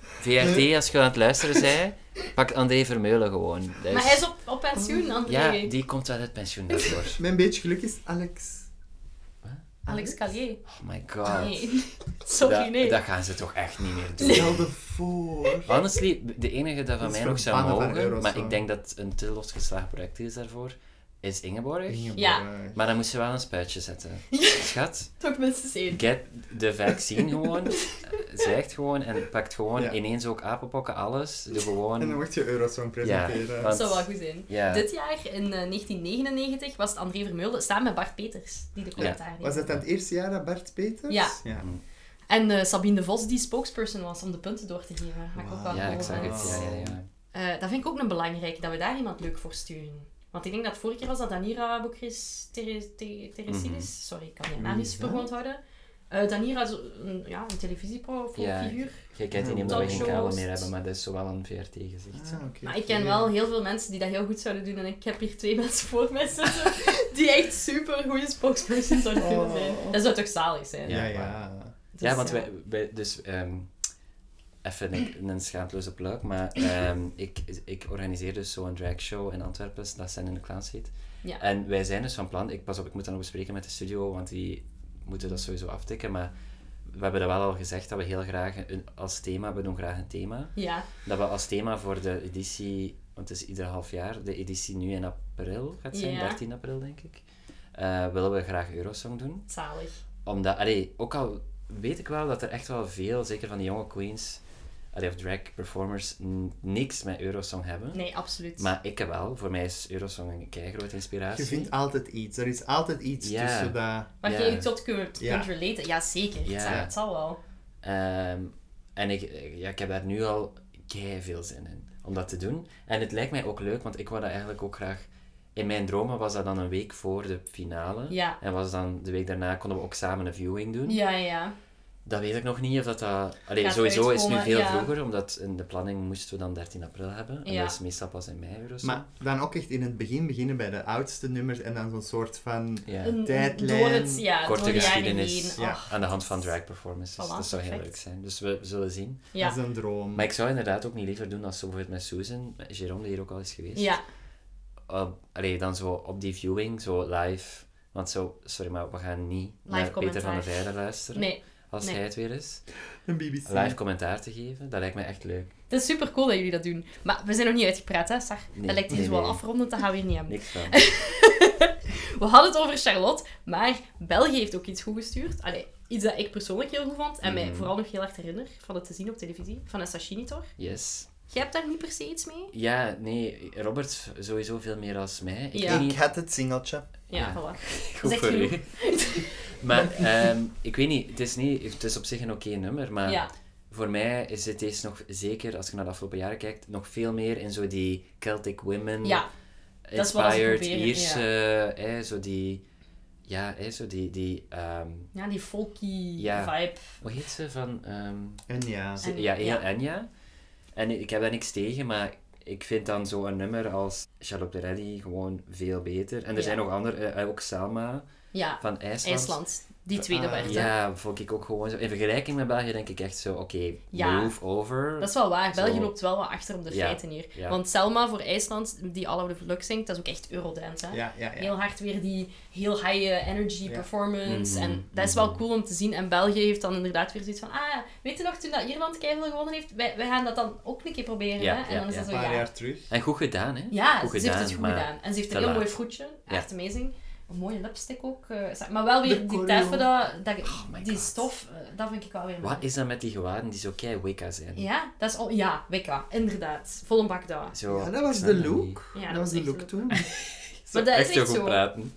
Speaker 2: VRT, als je aan het luisteren bent, pak André Vermeulen gewoon. Dat is-
Speaker 1: Maar hij is op, op pensioen, André.
Speaker 2: Ja, die komt wel uit pensioen daarvoor.
Speaker 3: Mijn beetje geluk is Alex.
Speaker 1: Alex Calier.
Speaker 2: Oh my god.
Speaker 1: Nee. Sorry,
Speaker 2: dat,
Speaker 1: nee.
Speaker 2: dat gaan ze toch echt niet meer doen.
Speaker 3: Stel je voor.
Speaker 2: Honestly, de enige dat van
Speaker 3: Dat is
Speaker 2: mij nog zou
Speaker 3: verbannen van
Speaker 2: mogen, maar
Speaker 3: Eurosong.
Speaker 2: ik denk dat het een te losgeslagen project is daarvoor, is Ingeborg.
Speaker 1: Ja.
Speaker 2: Maar dan moest ze wel een spuitje zetten. Schat,
Speaker 1: Toch minstens één.
Speaker 2: get the vaccine gewoon. Zwijgt gewoon en pakt gewoon
Speaker 3: Ja.
Speaker 2: ineens ook apenpokken, alles. Doe
Speaker 3: En dan
Speaker 2: gewoon...
Speaker 3: wordt je Eurosong presenteren.
Speaker 2: want-
Speaker 1: Dat zou wel goed zijn.
Speaker 2: Ja.
Speaker 1: Dit jaar, in eh, 1999, was het André Vermeulen samen met Bart Peters die de commentaar deed.
Speaker 3: Was dat dan het eerste jaar dat Bart Peters?
Speaker 1: Ja.
Speaker 3: ja.
Speaker 1: En eh, Sabine de Vos, die spokesperson was om de punten door te geven. Wat ik ook wel
Speaker 2: Ja,
Speaker 1: cool
Speaker 2: ik zag
Speaker 1: vond.
Speaker 2: het. Ja, ja, ja.
Speaker 1: Eh, dat vind ik ook een belangrijke, dat we daar iemand leuk voor sturen. Want ik denk dat vorige keer was dat Danira Boekris Teresidis.
Speaker 2: Mhm.
Speaker 1: Sorry, ik kan die naam niet super goed onthouden. Eh, Danira is een, ja, een
Speaker 2: Ja,
Speaker 1: televisiefiguur.
Speaker 2: Jij kent die niet omdat we geen
Speaker 1: Talkshows.
Speaker 2: kabel meer hebben, maar dat is zowel een VRT-gezicht.
Speaker 3: Ah, oké.
Speaker 1: Maar ik ken wel heel veel mensen die dat heel goed zouden doen. En ik heb hier twee mensen voor mij zitten die echt super goede spokesperson zouden kunnen zijn.
Speaker 3: Oh.
Speaker 1: Dat zou toch zalig zijn?
Speaker 3: Ja,
Speaker 2: Ja,
Speaker 3: ja.
Speaker 1: Dus,
Speaker 2: Ja, want wij, wij dus ehm, even een, een schaamteloze plug, maar ehm, ik, ik organiseer dus zo'n dragshow in Antwerpen, dat zijn in de Klaans heet.
Speaker 1: Ja.
Speaker 2: En wij zijn dus van plan, ik pas op, ik moet dat nog bespreken met de studio, want die moeten dat sowieso aftikken, maar we hebben dat wel al gezegd dat we heel graag een, als thema, we doen graag een thema,
Speaker 1: Ja,
Speaker 2: dat we als thema voor de editie, want het is ieder half jaar, de editie nu in april gaat zijn,
Speaker 1: Ja.
Speaker 2: 13 april denk ik, eh, willen we graag Eurosong doen
Speaker 1: zalig.
Speaker 2: omdat, allee, ook al weet ik wel dat er echt wel veel, zeker van die jonge queens allee, of drag performers, n- niks met Eurosong hebben.
Speaker 1: Nee, absoluut.
Speaker 2: Maar ik heb wel, voor mij is Eurosong een keigrote inspiratie.
Speaker 3: Je vindt altijd iets. Er is altijd iets
Speaker 2: Ja.
Speaker 3: tussen dat...
Speaker 1: Waar
Speaker 2: Ja.
Speaker 1: je je tot kunt,
Speaker 3: Ja.
Speaker 1: kunt relaten. Ja, zeker.
Speaker 2: Ja.
Speaker 1: Het, zal, het zal wel.
Speaker 2: Ehm, en ik, ja, ik heb daar nu al kei veel zin in. om dat te doen. En het lijkt mij ook leuk, want ik wou dat eigenlijk ook graag... In mijn dromen was dat dan een week voor de finale.
Speaker 1: Ja.
Speaker 2: En was dan de week daarna konden we ook samen een viewing doen.
Speaker 1: Ja, ja.
Speaker 2: Dat weet ik nog niet of dat... dat... Allee,
Speaker 1: Gaat
Speaker 2: sowieso is het nu
Speaker 1: uitkomen,
Speaker 2: veel
Speaker 1: ja.
Speaker 2: vroeger, omdat in de planning moesten we dan 13 april hebben. En
Speaker 1: Ja.
Speaker 2: dat is meestal pas in mei of zo.
Speaker 3: Maar dan ook echt in het begin beginnen bij de oudste nummers en dan zo'n soort van...
Speaker 2: ja.
Speaker 1: Een-
Speaker 3: Tijdlijn,
Speaker 1: door het, ja,
Speaker 2: korte
Speaker 1: door de jaren
Speaker 2: geschiedenis.
Speaker 1: heen.
Speaker 3: Ja.
Speaker 1: Ach,
Speaker 2: aan de hand van drag performances.
Speaker 1: Voilà,
Speaker 2: dat zou heel
Speaker 1: perfect.
Speaker 2: leuk zijn. Dus we zullen zien.
Speaker 1: ja.
Speaker 3: Dat is een droom.
Speaker 2: Maar ik zou inderdaad ook niet liever doen als zo bijvoorbeeld met Susan, met Jérôme, die hier ook al is geweest.
Speaker 1: Ja,
Speaker 2: Op- allee, dan zo op die viewing, zo live. Want zo, sorry, maar we gaan niet naar Peter
Speaker 1: commentaar.
Speaker 2: van der Veijden luisteren.
Speaker 1: nee.
Speaker 2: als
Speaker 1: nee.
Speaker 2: hij het weer is.
Speaker 3: Een BBC.
Speaker 2: Live commentaar te geven, dat lijkt me echt leuk.
Speaker 1: Het is super cool dat jullie dat doen. Maar we zijn nog niet uitgepraat, hè, Sar?
Speaker 2: Nee,
Speaker 1: dat lijkt hier
Speaker 2: nee,
Speaker 1: zo wel
Speaker 2: nee.
Speaker 1: afrondend, dat gaan we hier niet aan.
Speaker 2: Niks van.
Speaker 1: We hadden het over Charlotte, maar België heeft ook iets goed gestuurd. Allee, iets dat ik persoonlijk heel goed vond en mij
Speaker 2: Mhm.
Speaker 1: vooral nog heel erg herinner van het te zien op televisie, van een sashini toch?
Speaker 2: Yes.
Speaker 1: Jij hebt daar niet per se iets mee?
Speaker 2: Ja, nee, Robert sowieso veel meer als mij. Ik
Speaker 1: Ja.
Speaker 2: weet niet
Speaker 3: Ik had het singeltje.
Speaker 1: Ja,
Speaker 2: Ja.
Speaker 1: voilà.
Speaker 2: Goed
Speaker 1: Zeg
Speaker 2: voor
Speaker 1: genoeg.
Speaker 2: u. maar ehm, ik weet niet het, is niet, het is op zich een oké nummer, maar
Speaker 1: Ja.
Speaker 2: voor mij is dit deze nog, zeker als je naar de afgelopen jaren kijkt, nog veel meer in zo die Celtic women,
Speaker 1: Ja, dat is wat ze
Speaker 2: inspired,
Speaker 1: proberen,
Speaker 2: Ierse, hè, zo die, ja, hè, zo die, die ehm,
Speaker 1: ja die folky
Speaker 2: Ja.
Speaker 1: vibe.
Speaker 2: hoe heet ze van, ehm,
Speaker 3: En ja.
Speaker 2: ze-
Speaker 1: En-
Speaker 2: ja, heel
Speaker 1: ja.
Speaker 2: Enya. En ik heb daar niks tegen, maar ik vind dan zo'n nummer als Charlotte Perrelli gewoon veel beter. En er
Speaker 1: Ja.
Speaker 2: zijn nog andere, eh, ook Salma
Speaker 1: Ja,
Speaker 2: van IJsland.
Speaker 1: IJsland. Die tweede
Speaker 3: Ah,
Speaker 1: werd. hè.
Speaker 2: Ja, vond ik ook gewoon zo. In vergelijking met België denk ik echt zo, oké,
Speaker 1: Ja.
Speaker 2: move over.
Speaker 1: Dat is wel waar.
Speaker 2: Zo.
Speaker 1: België loopt wel wat achter op de
Speaker 2: Ja,
Speaker 1: feiten hier.
Speaker 2: ja.
Speaker 1: Want Selma voor IJsland, die All Out of Luck zingt, dat is ook echt Eurodance. Hè?
Speaker 3: Ja, ja, ja.
Speaker 1: Heel hard weer die heel high eh, energy
Speaker 3: Ja.
Speaker 1: performance.
Speaker 2: Mhm,
Speaker 1: En dat is wel cool om te zien. En België heeft dan inderdaad weer zoiets van... Ah, weet je nog, toen dat Ierland keihard gewonnen heeft? Wij, wij gaan dat dan ook een keer proberen.
Speaker 2: Ja,
Speaker 1: hè? En
Speaker 2: ja,
Speaker 1: dan is
Speaker 2: ja.
Speaker 1: dat
Speaker 3: Een
Speaker 1: zo,
Speaker 3: paar
Speaker 1: ja.
Speaker 3: jaar terug.
Speaker 2: En goed gedaan, hè?
Speaker 1: Ja,
Speaker 2: goed
Speaker 1: ze heeft het goed
Speaker 2: maar-
Speaker 1: gedaan. En ze heeft
Speaker 2: te
Speaker 1: een heel
Speaker 2: laat.
Speaker 1: mooi vroetje.
Speaker 2: Ja.
Speaker 1: Echt amazing. Een mooie lipstick ook. eh, sa- maar wel weer
Speaker 3: De
Speaker 1: die
Speaker 3: choreo.
Speaker 1: teffen, dat, dat,
Speaker 2: Oh my
Speaker 1: die
Speaker 2: God.
Speaker 1: stof, eh, dat vind ik wel weer mooi.
Speaker 2: Wat is dat met die gewaden die zo kei wicca zijn?
Speaker 1: Ja, dat is al, ja, Wicca, inderdaad. Vol een bak daar.
Speaker 2: Zo,
Speaker 3: Ja,
Speaker 2: ik
Speaker 3: dat was
Speaker 2: snap
Speaker 3: de look.
Speaker 1: Ja,
Speaker 3: dat was de
Speaker 1: echt
Speaker 3: look
Speaker 1: leuk.
Speaker 3: toen.
Speaker 2: niet.
Speaker 1: Maar dat is
Speaker 2: echt zo
Speaker 1: echt
Speaker 2: goed
Speaker 1: zo.
Speaker 2: praten.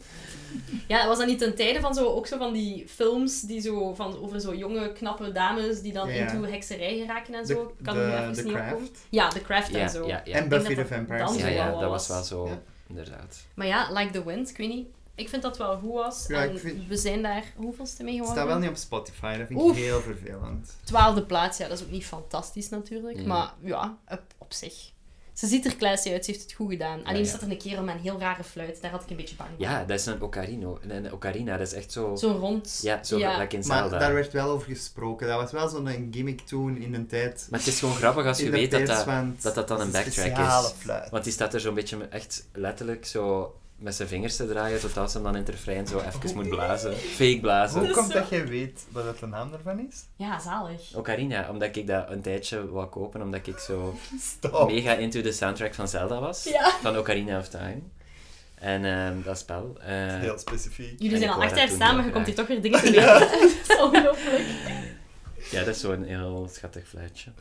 Speaker 1: Ja, was dat niet ten tijde van zo, ook zo van die films die zo, van, over zo jonge, knappe dames die dan
Speaker 3: Ja, ja.
Speaker 1: into hekserij geraken en
Speaker 3: De-
Speaker 1: zo? Ik kan
Speaker 3: de-
Speaker 1: er nu even
Speaker 3: de
Speaker 1: niet
Speaker 3: Craft.
Speaker 1: opkomen. Ja, The Craft
Speaker 2: Ja,
Speaker 1: en zo.
Speaker 2: ja, ja.
Speaker 3: En
Speaker 1: Ik denk
Speaker 3: Buffy
Speaker 1: dat
Speaker 3: the
Speaker 1: dat
Speaker 3: Vampire
Speaker 1: dan
Speaker 3: Slayer.
Speaker 2: ja,
Speaker 1: zo
Speaker 2: ja,
Speaker 1: wel
Speaker 2: dat
Speaker 1: was.
Speaker 2: was wel zo,
Speaker 3: Ja.
Speaker 2: inderdaad.
Speaker 1: Maar ja, Like the Wind, ik weet niet. Ik vind dat wel goed was.
Speaker 3: Ja,
Speaker 1: en
Speaker 3: ik vind-
Speaker 1: we zijn daar hoeveelste mee
Speaker 3: Het
Speaker 1: geworden?
Speaker 3: staat wel niet op Spotify, dat vind ik
Speaker 1: Oef.
Speaker 3: heel vervelend.
Speaker 1: Twaalfde plaats, ja, dat is ook niet fantastisch natuurlijk.
Speaker 2: Ja.
Speaker 1: Maar ja, op, op zich. Ze ziet er classy uit, ze heeft het goed gedaan. Alleen
Speaker 2: ja.
Speaker 1: staat er een kerel met een heel rare fluit, daar had ik een beetje bang voor.
Speaker 2: Ja, dat is een ocarino. Een- Een ocarina, dat is echt zo...
Speaker 1: Zo'n rond.
Speaker 2: Ja, zo
Speaker 1: ja.
Speaker 2: like in
Speaker 3: Maar
Speaker 2: Zelda.
Speaker 3: daar werd wel over gesproken. Dat was wel zo'n gimmick toen in een tijd.
Speaker 2: Maar het is gewoon grappig als je
Speaker 3: in de
Speaker 2: weet dat
Speaker 3: pers,
Speaker 2: dat,
Speaker 3: want
Speaker 2: dat dat dan
Speaker 3: het
Speaker 2: een
Speaker 3: een
Speaker 2: backtrack
Speaker 3: speciale
Speaker 2: is.
Speaker 3: fluit.
Speaker 2: Want die staat er zo'n beetje met- echt letterlijk zo met zijn vingers te draaien, totdat ze hem dan in het refrein zo even moet blazen. Fake blazen.
Speaker 3: Hoe komt
Speaker 1: zo.
Speaker 3: dat jij weet wat dat de naam daarvan is?
Speaker 1: Ja, zalig.
Speaker 2: Ocarina, Oh, omdat ik dat een tijdje wou kopen, omdat ik zo
Speaker 3: Stop.
Speaker 2: mega into de soundtrack van Zelda was.
Speaker 1: Ja.
Speaker 2: Van Ocarina of Time. En ehm, dat spel. eh,
Speaker 3: Heel specifiek.
Speaker 1: Jullie
Speaker 2: En
Speaker 1: zijn
Speaker 2: ik
Speaker 1: al
Speaker 2: wou
Speaker 1: acht
Speaker 2: dat
Speaker 1: jaar
Speaker 2: toen
Speaker 1: samen,
Speaker 2: heel
Speaker 1: je komt hier
Speaker 2: graag.
Speaker 1: toch weer dingen te leren. Ongelooflijk.
Speaker 2: ja, dat is zo'n heel schattig fluitje.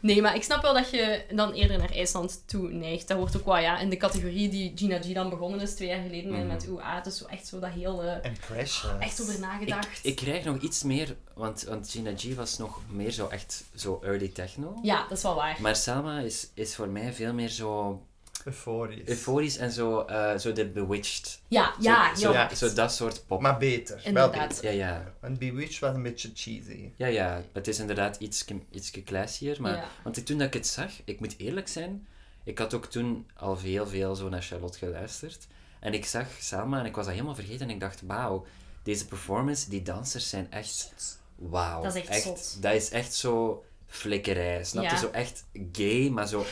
Speaker 1: Nee, maar ik snap wel dat je dan eerder naar IJsland toe neigt. Dat hoort ook wel, ja, in de categorie die Gina G dan begonnen is twee jaar geleden met-
Speaker 2: Mhm.
Speaker 1: met UA. Het is zo echt zo dat heel... eh,
Speaker 3: En precious.
Speaker 1: echt over
Speaker 2: Ik,
Speaker 1: nagedacht.
Speaker 2: ik krijg nog iets meer, want, want Gina G was nog meer zo echt zo early techno.
Speaker 1: Ja, dat is wel waar.
Speaker 2: Maar Salma is, is voor mij veel meer zo
Speaker 3: Euforisch.
Speaker 2: euforisch en zo, eh, zo de bewitched.
Speaker 1: Ja, ja,
Speaker 2: zo,
Speaker 1: heel
Speaker 2: zo,
Speaker 1: hard.
Speaker 2: zo dat soort pop.
Speaker 3: Maar beter. Wel
Speaker 1: Inderdaad.
Speaker 3: beter.
Speaker 2: Ja, ja.
Speaker 3: Want Bewitched was een beetje cheesy.
Speaker 2: Ja, ja, het is inderdaad iets, iets classier. Maar,
Speaker 1: Ja.
Speaker 2: Want ik- toen dat ik het zag, ik moet eerlijk zijn, ik had ook toen al heel veel zo naar Charlotte geluisterd. En ik zag Salma en ik was dat helemaal vergeten en ik dacht, wauw, deze performance, die dansers zijn echt... Wauw.
Speaker 1: Dat is echt zot.
Speaker 2: Dat is echt zo flikkerij, snap je?
Speaker 1: Ja.
Speaker 2: Zo echt gay, maar zo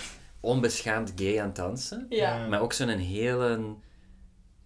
Speaker 2: onbeschaamd gay aan het dansen.
Speaker 1: Ja.
Speaker 2: Maar ook zo'n hele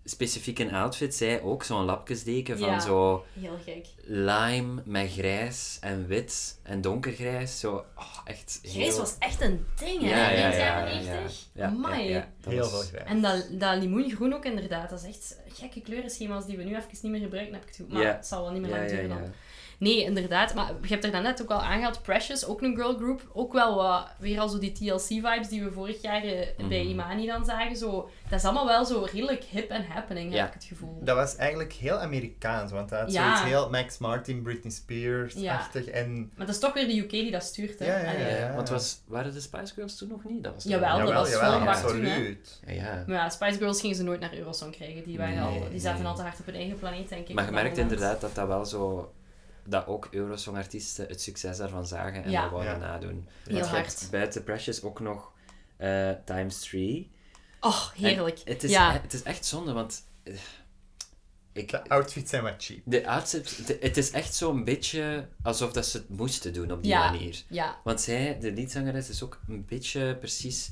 Speaker 2: specifieke outfit. Zij ook zo'n lapjesdeken van
Speaker 1: Ja.
Speaker 2: zo
Speaker 1: Heel gek.
Speaker 2: lime met grijs en wit en donkergrijs. Zo, oh, echt heel...
Speaker 1: Grijs was echt een ding, hè?
Speaker 2: Ja, ja,
Speaker 1: Eind
Speaker 2: ja.
Speaker 1: jaren
Speaker 2: ja, ja,
Speaker 1: 90.
Speaker 2: ja,
Speaker 1: Amai.
Speaker 2: ja, ja, dat
Speaker 3: Heel
Speaker 2: was-
Speaker 3: veel grijs.
Speaker 1: En dat, dat limoengroen ook inderdaad. Dat is echt gekke kleurenschema's die we nu even niet meer gebruiken, heb ik toe. Maar
Speaker 2: Ja.
Speaker 1: het zal wel niet meer
Speaker 2: Ja,
Speaker 1: lang
Speaker 2: ja,
Speaker 1: duren
Speaker 2: ja.
Speaker 1: dan. Nee, inderdaad. Maar je hebt er daarnet ook al aangehaald. Precious, ook een girl group. Ook wel wat, weer al zo die TLC-vibes die we vorig jaar eh,
Speaker 2: Mhm.
Speaker 1: bij Imani dan zagen. Zo, dat is allemaal wel zo redelijk hip en happening,
Speaker 2: Ja.
Speaker 1: heb ik het gevoel.
Speaker 3: Dat was eigenlijk heel Amerikaans, want dat had
Speaker 1: Ja.
Speaker 3: zoiets heel Max Martin, Britney Spears-achtig. En
Speaker 1: Maar dat is toch weer de UK die dat stuurt, hè?
Speaker 3: Ja, ja,
Speaker 1: Allee.
Speaker 2: Ja,
Speaker 3: ja.
Speaker 2: want was, waren de Spice Girls toen nog niet? Dat was toen-
Speaker 1: Jawel, dat was
Speaker 3: jawel,
Speaker 1: volle bak toen, hè.
Speaker 3: absoluut.
Speaker 2: Ja, ja.
Speaker 1: Maar ja, Spice Girls gingen ze nooit naar Eurosong krijgen. Die, waren al, die
Speaker 2: Nee,
Speaker 1: zaten
Speaker 2: nee.
Speaker 1: al te hard op hun eigen planeet, denk ik.
Speaker 2: Maar je
Speaker 1: op dat
Speaker 2: merkt
Speaker 1: moment.
Speaker 2: inderdaad dat dat wel zo... Dat ook Eurosong-artiesten het succes daarvan zagen en
Speaker 1: Ja.
Speaker 2: dat wouden
Speaker 3: Ja.
Speaker 2: nadoen.
Speaker 1: Heel
Speaker 2: Want je
Speaker 1: hard.
Speaker 2: hebt buiten Precious ook nog eh, Times 3.
Speaker 1: Oh, heerlijk.
Speaker 2: En Het is, e-,
Speaker 1: ja.
Speaker 2: het is echt zonde, want... eh, Ik,
Speaker 3: De outfits zijn wat cheap.
Speaker 2: de outfits- de- het is echt zo'n beetje alsof dat ze het moesten doen op die
Speaker 1: ja.
Speaker 2: manier.
Speaker 1: Ja.
Speaker 2: Want zij, de liedzangeres, is ook een beetje precies...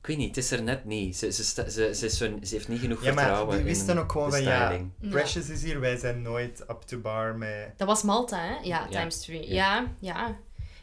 Speaker 2: Ik weet niet, het is er net niet. Ze, ze, sta- ze, ze, is zo- ze heeft niet genoeg
Speaker 3: Ja, maar
Speaker 2: vertrouwen
Speaker 3: die wisten
Speaker 2: in
Speaker 3: ook gewoon
Speaker 2: de
Speaker 3: van ja,
Speaker 2: styling.
Speaker 1: Ja.
Speaker 3: Precious is hier, wij zijn nooit up to bar met...
Speaker 1: Dat was Malta, hè? Ja,
Speaker 2: Ja.
Speaker 1: times three. Ja, ja.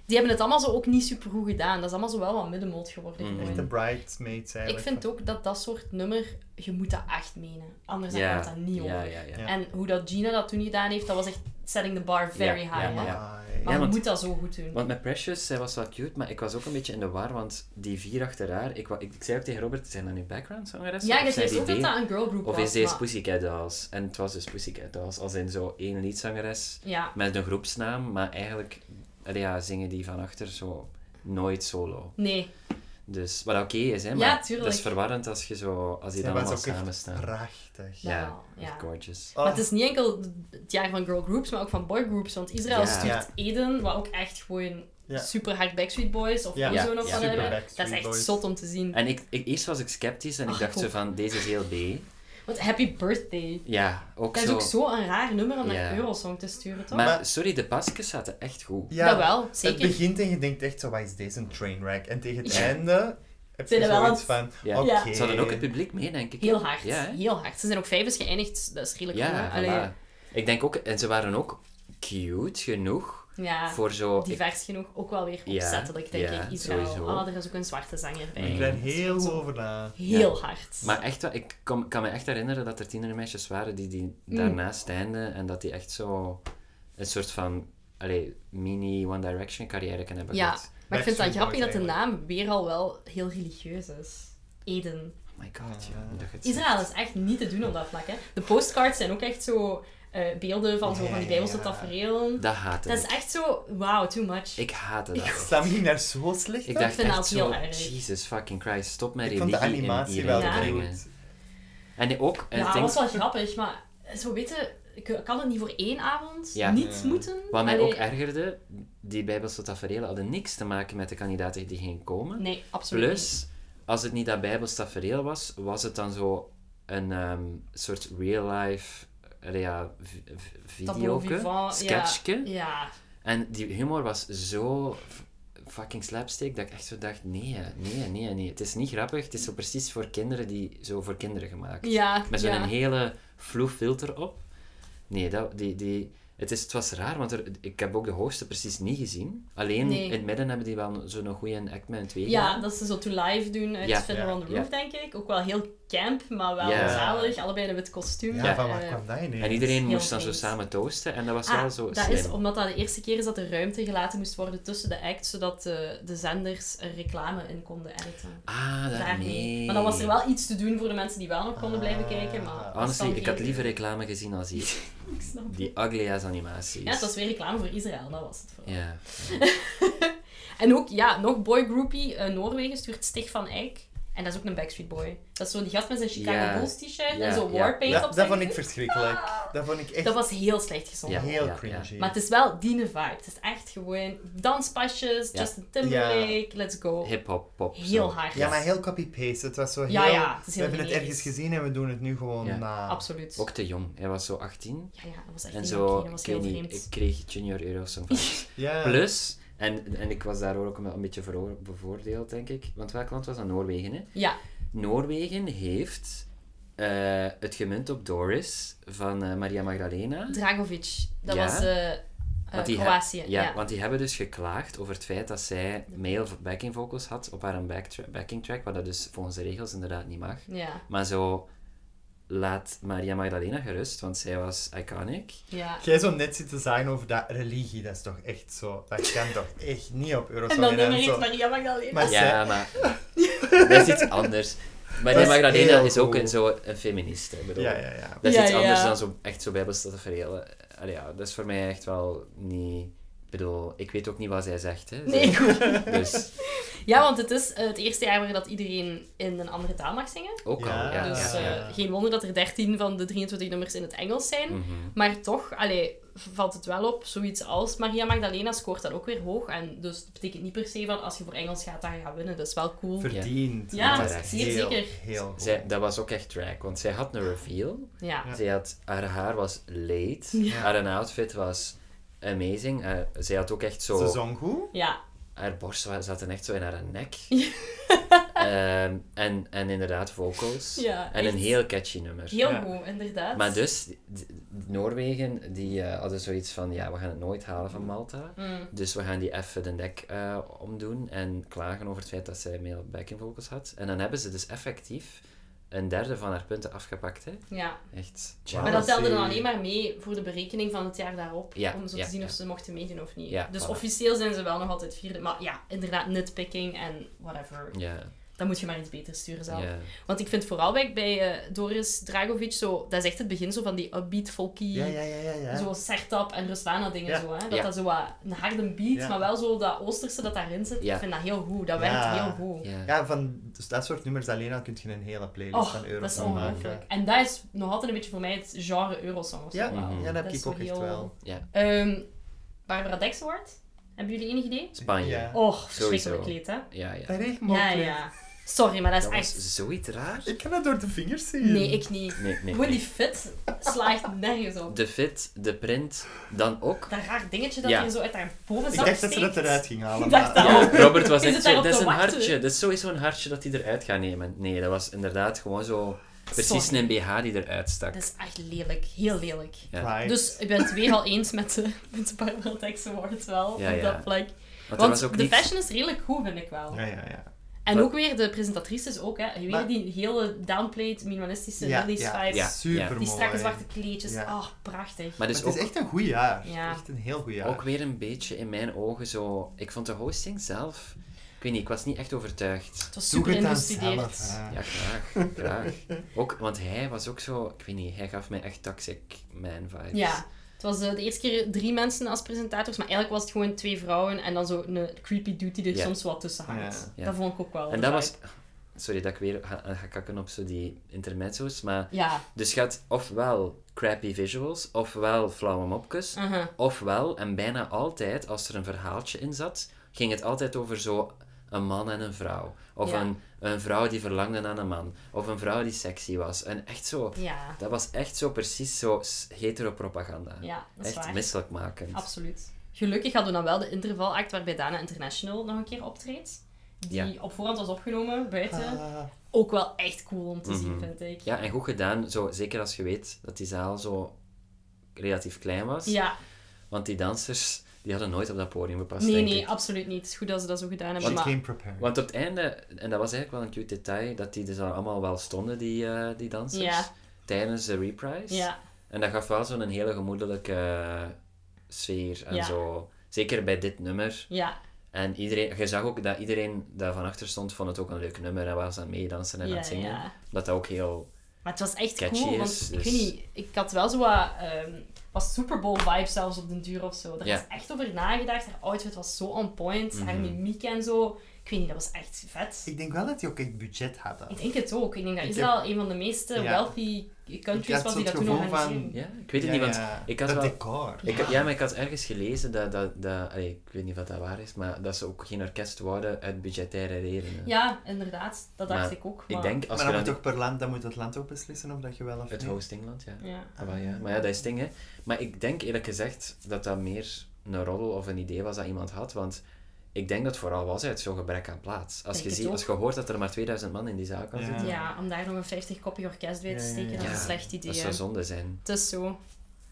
Speaker 1: Die hebben het allemaal zo ook niet super goed gedaan. Dat is allemaal zo wel wat middenmoot geworden.
Speaker 2: Mm.
Speaker 1: gewoon.
Speaker 3: Echte bridesmaids
Speaker 1: Ik
Speaker 3: eigenlijk.
Speaker 1: vind ook dat dat soort nummer, je moet dat echt menen. Anders dan
Speaker 2: Ja,
Speaker 1: komt dat niet
Speaker 2: ja,
Speaker 1: over.
Speaker 2: ja, ja.
Speaker 3: Ja.
Speaker 1: En hoe dat Gina dat toen gedaan heeft, dat was echt setting the bar very
Speaker 2: Ja,
Speaker 1: high.
Speaker 2: ja,
Speaker 1: hè.
Speaker 2: ja.
Speaker 3: Amai.
Speaker 1: Maar
Speaker 2: Ja,
Speaker 1: je
Speaker 2: want-
Speaker 1: moet dat zo goed doen.
Speaker 2: Want met Precious, zij was wel cute, maar ik was ook een beetje in de war, want die vier achter haar... Ik, wa- ik, ik zei ook tegen Robert, zijn dat nu background zangeressen?
Speaker 1: ja,
Speaker 2: Of
Speaker 1: je
Speaker 2: zijn
Speaker 1: zei ook
Speaker 2: die
Speaker 1: dat dat
Speaker 2: B?
Speaker 1: een girlgroup was.
Speaker 2: Of is deze
Speaker 1: maar-
Speaker 2: Pussycat Dolls? En het was dus Pussycat Dolls, als in zo één liedzangeres
Speaker 1: Ja.
Speaker 2: met een groepsnaam, maar eigenlijk allee, ja, zingen die van achter zo nooit solo.
Speaker 1: Nee.
Speaker 2: Dus, wat oké is, hè, maar
Speaker 1: tuurlijk.
Speaker 2: dat is verwarrend als, je zo, als die
Speaker 3: Zij
Speaker 2: dan
Speaker 3: was
Speaker 2: allemaal
Speaker 3: ook
Speaker 2: samen
Speaker 3: echt
Speaker 2: staan.
Speaker 3: prachtig.
Speaker 1: Ja,
Speaker 2: Ja,
Speaker 1: ja.
Speaker 2: echt gorgeous.
Speaker 3: Oh,
Speaker 1: Maar het is niet enkel het jaar van girlgroups, maar ook van boygroups. Want Israël
Speaker 2: Ja.
Speaker 1: stuurt Eden, wat ook echt gewoon
Speaker 3: Ja.
Speaker 1: super hard Backstreet Boys of
Speaker 3: Ja.
Speaker 1: Ozone of
Speaker 2: Ja.
Speaker 1: wat hebben.
Speaker 2: Super
Speaker 1: Dat
Speaker 3: Backstreet
Speaker 1: is echt
Speaker 3: Boys.
Speaker 1: zot om te zien.
Speaker 2: En ik, ik, eerst was ik sceptisch en ik
Speaker 1: Ach,
Speaker 2: dacht
Speaker 1: ik
Speaker 2: zo
Speaker 1: ook.
Speaker 2: van, deze is heel B.
Speaker 1: Want Happy Birthday.
Speaker 2: Ja, ook
Speaker 1: Dat is
Speaker 2: zo.
Speaker 1: ook zo'n raar nummer om naar
Speaker 2: Ja.
Speaker 1: een Eurosong te sturen, toch?
Speaker 2: Maar,
Speaker 3: Maar-
Speaker 2: sorry, de pasjes zaten echt goed.
Speaker 3: ja,
Speaker 1: dat wel, zeker.
Speaker 3: Het begint en je denkt echt zo, wat is deze, een trainwreck? En tegen het
Speaker 1: Ja.
Speaker 3: einde heb
Speaker 1: Zijn
Speaker 3: je
Speaker 1: er wel
Speaker 3: zoiets
Speaker 1: wat-
Speaker 3: van,
Speaker 2: Ja.
Speaker 3: oké.
Speaker 1: Ja.
Speaker 2: Ze hadden ook het publiek mee, denk ik.
Speaker 1: Heel hard,
Speaker 2: Ja, hè?
Speaker 1: heel hard. Ze zijn ook vijfers geëindigd, dus dat is redelijk
Speaker 2: ja
Speaker 1: goed. hè? Allee,
Speaker 2: voilà. Ik denk ook... En ze waren ook cute genoeg
Speaker 1: ja,
Speaker 2: voor zo... ik-
Speaker 1: divers genoeg. Ook wel weer
Speaker 2: Ja,
Speaker 1: opzettelijk, denk
Speaker 2: ja,
Speaker 1: ik. Israël.
Speaker 2: sowieso.
Speaker 1: Ah, er is ook een zwarte zanger bij.
Speaker 2: Mm.
Speaker 3: Ik ben
Speaker 1: Dat is
Speaker 3: heel
Speaker 1: zo
Speaker 3: over na.
Speaker 1: Heel hard.
Speaker 2: maar echt, wel, ik kan, kan me echt herinneren dat er tienermeisjes waren die, die
Speaker 1: Mm.
Speaker 2: daarnaast einden en dat die echt zo een soort van allee, mini One Direction carrière kunnen hebben
Speaker 1: ja,
Speaker 2: gehad.
Speaker 1: maar ik vind het
Speaker 3: Backstreet
Speaker 1: grappig dat
Speaker 3: Boys
Speaker 1: de naam weer al wel heel religieus is. Eden.
Speaker 2: Oh my god, ja. dat je het
Speaker 1: Israël is echt niet te doen op dat vlak. Hè. De postcards zijn ook echt zo eh, beelden van, zo, van die bijbelse
Speaker 3: Ja.
Speaker 2: zegt.
Speaker 1: tafereelen.
Speaker 2: Dat haatte
Speaker 1: Dat is
Speaker 2: ik.
Speaker 1: echt zo, wow, too much.
Speaker 2: Ik haatte dat. echt.
Speaker 3: Sam ging daar zo slecht
Speaker 2: Ik
Speaker 3: op.
Speaker 2: dacht
Speaker 1: vind dat
Speaker 2: echt
Speaker 1: heel
Speaker 2: zo,
Speaker 1: erg.
Speaker 2: Jesus fucking Christ, stop met
Speaker 3: Ik vond de
Speaker 2: religie in
Speaker 3: animatie
Speaker 2: hier
Speaker 3: wel
Speaker 1: Ja.
Speaker 2: brengen.
Speaker 3: goed.
Speaker 2: En ook,
Speaker 1: ja,
Speaker 2: en ik
Speaker 1: dat
Speaker 2: denk-
Speaker 1: was wel grappig, maar zo weten, ik kan het niet voor één avond
Speaker 2: Ja.
Speaker 1: niet moeten.
Speaker 2: Wat mij
Speaker 1: Allee,
Speaker 2: ook ergerde, die bijbelse tafereelen hadden niks te maken met de kandidaten die gingen komen.
Speaker 1: Nee, absoluut niet.
Speaker 2: Plus, als het niet dat bijbels tafereel was, was het dan zo een ehm, soort real-life ja, vi- vi-
Speaker 1: Tableau
Speaker 2: videoke,
Speaker 1: vivant, ja.
Speaker 2: sketchke.
Speaker 1: Ja,
Speaker 2: En die humor was zo f- fucking slapstick dat ik echt zo dacht, nee, hè, nee, nee, nee. Het is niet grappig, het is zo precies voor kinderen die zo voor kinderen gemaakt.
Speaker 1: ja.
Speaker 2: Met zo'n
Speaker 1: ja.
Speaker 2: hele vloef filter op. Nee, dat, die, die, het, is, het was raar, want er, ik heb ook de hoogste precies niet gezien. Alleen
Speaker 1: Nee.
Speaker 2: in het midden hebben die wel zo'n goede act met een twee
Speaker 1: Ja,
Speaker 2: gedaan.
Speaker 1: dat ze zo To Live doen uit
Speaker 2: Ja,
Speaker 1: Fiddler
Speaker 3: ja,
Speaker 1: on the
Speaker 2: ja.
Speaker 1: Roof, denk ik. Ook wel heel camp, maar wel
Speaker 2: Ja.
Speaker 1: zalig. Allebei in een wit kostuum.
Speaker 3: Ja,
Speaker 2: Ja.
Speaker 3: van waar
Speaker 1: Eh,
Speaker 3: kwam dat ineens?
Speaker 2: En iedereen
Speaker 1: Heel
Speaker 2: moest dan zo
Speaker 1: vreemd.
Speaker 2: samen toasten en dat was wel
Speaker 1: Ah,
Speaker 2: zo
Speaker 1: dat
Speaker 2: slim.
Speaker 1: is omdat dat de eerste keer is dat er ruimte gelaten moest worden tussen de acts, zodat eh, de, de zenders er reclame in konden editen.
Speaker 2: Ah, dat
Speaker 1: Daar
Speaker 2: nee.
Speaker 1: niet. Maar dan was er wel iets te doen voor de mensen die wel nog konden blijven
Speaker 3: Ah.
Speaker 1: kijken. Maar dat is
Speaker 2: Honestly,
Speaker 1: dan
Speaker 2: ik
Speaker 1: geen-
Speaker 2: had liever reclame gezien als hier.
Speaker 1: Ik snap het.
Speaker 2: Die ugly ass animaties.
Speaker 1: Ja, het was weer reclame voor Israël, dat was het vooral.
Speaker 2: Ja.
Speaker 1: En ook, ja, nog boygroupie, eh Noorwegen stuurt Stig van Eyck. En dat is ook een Backstreet Boy. Dat is zo die gast met zijn Chicago
Speaker 2: Ja.
Speaker 1: Bulls t-shirt
Speaker 2: Ja,
Speaker 1: en zo
Speaker 2: ja.
Speaker 1: warpaint op
Speaker 3: dat, dat
Speaker 1: zijn
Speaker 3: vond ik
Speaker 1: gezicht.
Speaker 3: verschrikkelijk. Dat vond ik echt
Speaker 1: Dat was heel slecht gezongen.
Speaker 2: Ja.
Speaker 3: heel cringy.
Speaker 1: Maar het is wel die vibe. Het is echt gewoon danspasjes,
Speaker 2: Ja.
Speaker 1: Justin Timberlake, let's go.
Speaker 2: Hip-hop, pop. zo.
Speaker 1: Heel hard.
Speaker 3: Ja, maar heel copy-paste. Het was zo heel...
Speaker 1: Ja, ja, het is heel
Speaker 3: we hebben het
Speaker 1: generisch.
Speaker 3: ergens gezien en we doen het nu gewoon
Speaker 2: Ja.
Speaker 3: na.
Speaker 1: Absoluut.
Speaker 2: Ook te jong. Hij was zo 18.
Speaker 1: Ja, ja, dat was echt
Speaker 2: Ah, En
Speaker 1: niet
Speaker 2: zo,
Speaker 1: oké, dat was
Speaker 2: ik weet
Speaker 1: heel
Speaker 2: niet,
Speaker 1: vreemd.
Speaker 2: ik kreeg Junior Eurosong van
Speaker 3: Ja.
Speaker 2: Plus, en, en ik was daar ook een beetje veroor- bevoordeeld, denk ik. Want welk land was dat? Noorwegen, hè?
Speaker 1: Ja,
Speaker 2: Noorwegen heeft eh, het gemunt op Doris van eh, Maria Magdalena.
Speaker 1: Dragovic. Dat
Speaker 2: Ja.
Speaker 1: was eh eh,
Speaker 2: die he-
Speaker 1: Kroatië.
Speaker 2: ja,
Speaker 1: Ja,
Speaker 2: want die hebben dus geklaagd over het feit dat zij male backing vocals had op haar backtra- backing track, wat dat dus volgens de regels inderdaad niet mag.
Speaker 1: Ja.
Speaker 2: Maar zo laat Maria Magdalena gerust, want zij was iconic.
Speaker 1: Ja.
Speaker 3: Jij zo net zitten zagen over dat religie, dat is toch echt zo. Dat kan toch echt niet op
Speaker 1: En
Speaker 3: Eurosong
Speaker 1: dan
Speaker 3: en
Speaker 1: nummer
Speaker 3: zo.
Speaker 1: iets Maria Magdalena.
Speaker 3: Maar-
Speaker 2: Ja, maar dat is iets anders. Maria
Speaker 3: is
Speaker 2: Magdalena
Speaker 3: heel
Speaker 2: is ook
Speaker 3: cool.
Speaker 2: een, zo een feminist. Ik bedoel.
Speaker 3: Ja, ja, ja.
Speaker 2: Dat is
Speaker 1: Ja,
Speaker 2: iets
Speaker 1: ja.
Speaker 2: anders dan zo, echt zo bijbelse tafereelen. Allee, ja, dat is voor mij echt wel niet... Ik bedoel, ik weet ook niet wat zij zegt. Hè.
Speaker 1: Nee,
Speaker 2: Zij- Dus
Speaker 1: Ja, want het is eh, het eerste jaar waarin dat iedereen in een andere taal mag zingen.
Speaker 2: ook
Speaker 3: Ja,
Speaker 2: al, ja.
Speaker 1: Dus
Speaker 2: Ah, ja.
Speaker 1: eh,
Speaker 3: ja.
Speaker 1: geen wonder dat er 13 van de 23 nummers in het Engels zijn.
Speaker 2: Mhm.
Speaker 1: Maar toch, allee, valt het wel op, zoiets als Maria Magdalena scoort dan ook weer hoog. En dus dat betekent niet per se van als je voor Engels gaat, dan ga je winnen. Dat is wel cool.
Speaker 3: Verdiend.
Speaker 1: Ja,
Speaker 3: Dat is
Speaker 2: terecht.
Speaker 1: zeer
Speaker 3: heel,
Speaker 1: zeker.
Speaker 3: Heel goed.
Speaker 2: Zij, dat was ook echt track, want zij had een reveal.
Speaker 1: Ja.
Speaker 3: Ja.
Speaker 2: Zij had, haar haar was late.
Speaker 1: Ja.
Speaker 2: Haar outfit was amazing. Eh, zij had ook echt
Speaker 3: Ze
Speaker 2: zo...
Speaker 3: zong goed.
Speaker 1: Ja.
Speaker 2: haar borst wa- zaten echt zo in haar nek. Ehm, en, en inderdaad vocals.
Speaker 1: Ja,
Speaker 2: en een
Speaker 1: echt.
Speaker 2: heel catchy nummer.
Speaker 1: Heel
Speaker 3: Ja.
Speaker 1: goed, inderdaad.
Speaker 2: Maar dus, d- d- Noorwegen, die eh, hadden zoiets van, ja, we gaan het nooit halen van Malta.
Speaker 1: Mm.
Speaker 2: Dus we gaan die even de nek eh, omdoen en klagen over het feit dat zij male backing vocals had. En dan hebben ze dus effectief een derde van haar punten afgepakt, hè.
Speaker 1: Ja.
Speaker 2: Echt.
Speaker 3: Tja.
Speaker 1: Maar
Speaker 2: wauw.
Speaker 1: dat telde dan
Speaker 3: zie-
Speaker 1: alleen maar mee voor de berekening van het jaar daarop.
Speaker 2: Ja,
Speaker 1: om zo
Speaker 2: ja,
Speaker 1: te zien of
Speaker 2: ja.
Speaker 1: ze mochten meedoen of niet.
Speaker 2: Ja,
Speaker 1: dus
Speaker 2: voilà.
Speaker 1: officieel zijn ze wel nog altijd vierde. Maar ja, inderdaad, nitpicking en whatever.
Speaker 2: Ja,
Speaker 1: Dan moet je maar iets beter sturen zelf.
Speaker 2: ja.
Speaker 1: Want ik vind vooral bij, bij eh, Doris Dragovic zo... Dat is echt het begin zo van die upbeat, folky...
Speaker 3: Ja, ja, ja, ja. ja.
Speaker 1: Zo Sertab en Ruslana dingen
Speaker 3: Ja.
Speaker 1: zo, hè. Dat
Speaker 2: Ja.
Speaker 1: dat zo wat een harde beat,
Speaker 3: Ja.
Speaker 1: maar wel zo dat Oosterse dat daarin zit.
Speaker 2: Ja.
Speaker 1: Ik vind dat heel goed. Dat
Speaker 3: Ja.
Speaker 1: werkt heel goed.
Speaker 2: ja.
Speaker 3: Ja, van dus dat soort nummers alleen al kun je een hele playlist
Speaker 1: Och,
Speaker 3: van
Speaker 1: dat is
Speaker 3: Eurosong
Speaker 1: ongelooflijk.
Speaker 3: maken.
Speaker 1: En dat is nog altijd een beetje voor mij het genre Eurosong of zo
Speaker 3: Ja,
Speaker 1: wel.
Speaker 2: Mhm.
Speaker 3: ja, dat
Speaker 1: Dat
Speaker 3: heb
Speaker 1: is
Speaker 3: ik ook echt
Speaker 1: heel-
Speaker 3: wel.
Speaker 1: Ehm, Barbara Dexwoord, hebben jullie enig idee?
Speaker 2: Spanje.
Speaker 3: Ja.
Speaker 1: Och, verschrikkelijk
Speaker 2: Sowieso.
Speaker 1: lied, hè?
Speaker 2: Ja, ja.
Speaker 3: Dat is echt
Speaker 1: Ja,
Speaker 3: mogelijk.
Speaker 1: ja. Sorry, maar dat is
Speaker 2: Dat
Speaker 1: echt...
Speaker 2: was zoiets raar.
Speaker 3: Ik kan dat door de vingers zien.
Speaker 1: Nee, ik niet.
Speaker 2: Nee, nee.
Speaker 1: Gewoon die fit slaagt nergens op.
Speaker 2: De fit, de print, dan ook.
Speaker 1: Dat raar dingetje dat
Speaker 2: Ja.
Speaker 1: hier zo uit haar boven
Speaker 3: Ik
Speaker 1: zat
Speaker 3: dacht dat ze dat eruit ging halen.
Speaker 1: Ik dacht
Speaker 3: maar-
Speaker 1: dat ook.
Speaker 2: Robert was
Speaker 1: Je
Speaker 2: echt
Speaker 1: zit
Speaker 2: zo,
Speaker 1: daarop
Speaker 2: dat is
Speaker 1: te
Speaker 2: een
Speaker 1: wachten."
Speaker 2: hartje, dat is sowieso een hartje dat hij eruit gaat nemen. Nee, dat was inderdaad gewoon zo, precies
Speaker 1: Sorry.
Speaker 2: een BH die eruit stak.
Speaker 1: Dat is echt lelijk. Heel lelijk.
Speaker 2: Ja.
Speaker 3: Right.
Speaker 1: Dus ik ben het weer al eens met de, met de Barbara Dexwoord wel.
Speaker 2: Ja,
Speaker 1: op
Speaker 2: ja.
Speaker 1: dat vlak.
Speaker 2: Want, er
Speaker 1: Want
Speaker 2: was ook
Speaker 1: de
Speaker 2: niks-
Speaker 1: fashion is redelijk goed, vind ik wel.
Speaker 3: Ja, ja, ja.
Speaker 1: En
Speaker 2: Maar-
Speaker 1: ook weer de presentatrices ook, hè. Weer
Speaker 3: Maar-
Speaker 1: die hele downplayed, minimalistische
Speaker 3: Ja,
Speaker 1: release
Speaker 3: ja,
Speaker 1: vibes.
Speaker 2: Ja,
Speaker 3: Super
Speaker 1: Die strakke
Speaker 3: mooi.
Speaker 1: zwarte kleedjes.
Speaker 3: Ja.
Speaker 1: Oh, prachtig.
Speaker 2: Maar dus
Speaker 3: het
Speaker 2: ook,
Speaker 3: is echt een goed jaar.
Speaker 1: Ja.
Speaker 3: Echt een heel goed jaar.
Speaker 2: ook weer een beetje in mijn ogen zo... Ik vond de hosting zelf... Ik weet niet, ik was niet echt overtuigd.
Speaker 1: Het was
Speaker 3: Doe
Speaker 1: super
Speaker 3: het dan
Speaker 1: ingestudeerd.
Speaker 3: zelf. hè.
Speaker 2: Ja, graag, graag. Ook, want hij was ook zo... Ik weet niet, hij gaf mij echt toxic man vibes.
Speaker 1: Ja. Het was eh, de eerste keer drie mensen als presentators, maar eigenlijk was het gewoon twee vrouwen en dan zo een eh, creepy dude die er
Speaker 2: Ja.
Speaker 1: soms wat tussen hangt.
Speaker 2: Ja.
Speaker 1: Dat vond ik ook wel.
Speaker 2: En
Speaker 1: de
Speaker 2: dat was...
Speaker 1: vibe.
Speaker 2: Sorry dat ik weer ga, ga kakken op zo die intermezzo's, maar...
Speaker 1: Ja.
Speaker 2: Dus je had ofwel crappy visuals, ofwel flauwe mopjes,
Speaker 1: Uh-huh.
Speaker 2: ofwel, en bijna altijd, als er een verhaaltje in zat, ging het altijd over zo een man en een vrouw. Of
Speaker 1: Ja.
Speaker 2: een, een vrouw die verlangde naar een man. Of een vrouw die sexy was. En echt zo...
Speaker 1: Ja.
Speaker 2: Dat was echt zo precies zo s- heteropropaganda.
Speaker 1: Ja, dat is
Speaker 2: echt
Speaker 1: waar.
Speaker 2: misselijkmakend.
Speaker 1: Absoluut. Gelukkig hadden we dan wel de intervalact waarbij Dana International nog een keer optreedt. Die op voorhand was opgenomen buiten.
Speaker 3: Ah,
Speaker 1: Ook wel echt cool om te zien,
Speaker 2: Mhm.
Speaker 1: vind ik.
Speaker 2: Ja, en goed gedaan. Zo, zeker als je weet dat die zaal zo relatief klein was.
Speaker 1: Ja.
Speaker 2: Want die dansers, die hadden nooit op dat podium gepast,
Speaker 1: Nee,
Speaker 2: denk
Speaker 1: nee,
Speaker 2: ik.
Speaker 1: absoluut niet. Het is goed dat ze dat zo gedaan hebben.
Speaker 3: shit
Speaker 1: maar...
Speaker 3: came prepared.
Speaker 2: Want op het einde, en dat was eigenlijk wel een cute detail, dat die dus al allemaal wel stonden, die, eh, die dansers,
Speaker 1: Ja.
Speaker 2: tijdens de reprise.
Speaker 1: Ja,
Speaker 2: En dat gaf wel zo'n hele gemoedelijke eh, sfeer en
Speaker 1: Ja.
Speaker 2: zo. Zeker bij dit nummer.
Speaker 1: ja,
Speaker 2: En iedereen, je zag ook dat iedereen dat van achter stond, vond het ook een leuk nummer en was aan het meedansen en aan
Speaker 1: ja,
Speaker 2: het zingen.
Speaker 1: ja.
Speaker 2: Dat dat ook heel...
Speaker 1: Maar het was echt
Speaker 2: Catchy
Speaker 1: cool, want
Speaker 2: is,
Speaker 1: ik weet
Speaker 2: dus-
Speaker 1: niet, ik had wel zo wat, ehm, was Super Bowl vibe zelfs op den duur of zo. Daar
Speaker 2: Ja.
Speaker 1: was echt over nagedacht, haar outfit was zo on point, haar
Speaker 2: Mhm.
Speaker 1: mimiek en zo. Ik weet niet, dat was echt vet. Ik,
Speaker 3: Ik denk wel dat die ook echt budget hadden.
Speaker 1: denk het ook. Ik denk dat
Speaker 3: Ik
Speaker 1: Israël een van de meeste
Speaker 3: Ja.
Speaker 1: wealthy
Speaker 3: Ik
Speaker 1: countries
Speaker 3: had
Speaker 1: was die
Speaker 3: zo'n
Speaker 1: dat toen
Speaker 3: gevoel van-
Speaker 1: organiseerden.
Speaker 2: Ja, ik weet het niet, want ik had
Speaker 3: dat
Speaker 2: wel...
Speaker 3: decor.
Speaker 2: Ik, had- ja, maar ik had ergens gelezen dat... dat, dat allee, ik weet niet of dat waar is, maar dat ze ook geen orkest wouden uit budgettaire redenen.
Speaker 1: Ja, inderdaad. Dat dacht
Speaker 2: Maar
Speaker 1: ik ook.
Speaker 2: Ik
Speaker 1: maar-
Speaker 2: denk, als
Speaker 3: maar
Speaker 2: je
Speaker 3: dan moet
Speaker 2: dan
Speaker 3: toch per land, dan moet het land ook beslissen of dat je wel of
Speaker 2: Het
Speaker 3: niet.
Speaker 2: hostingland, ja.
Speaker 1: Ja.
Speaker 2: Ah, wel, ja. Maar ja, dat is het ding, hè. Maar ik denk eerlijk gezegd dat dat meer een roddel of een idee was dat iemand had, want ik denk dat het vooral was uit zo'n gebrek aan plaats. Als
Speaker 1: Denk
Speaker 2: je,
Speaker 1: het
Speaker 2: ziet,
Speaker 1: ook.
Speaker 2: als je hoort dat er maar 2000 man in die zaal kan
Speaker 3: Ja.
Speaker 2: zitten,
Speaker 1: Ja, om daar nog een 50-koppig orkest bij te
Speaker 3: Ja, ja,
Speaker 1: steken,
Speaker 3: ja.
Speaker 1: dat is een
Speaker 2: Ja,
Speaker 1: slecht idee.
Speaker 2: dat zou zonde zijn.
Speaker 1: Het is zo.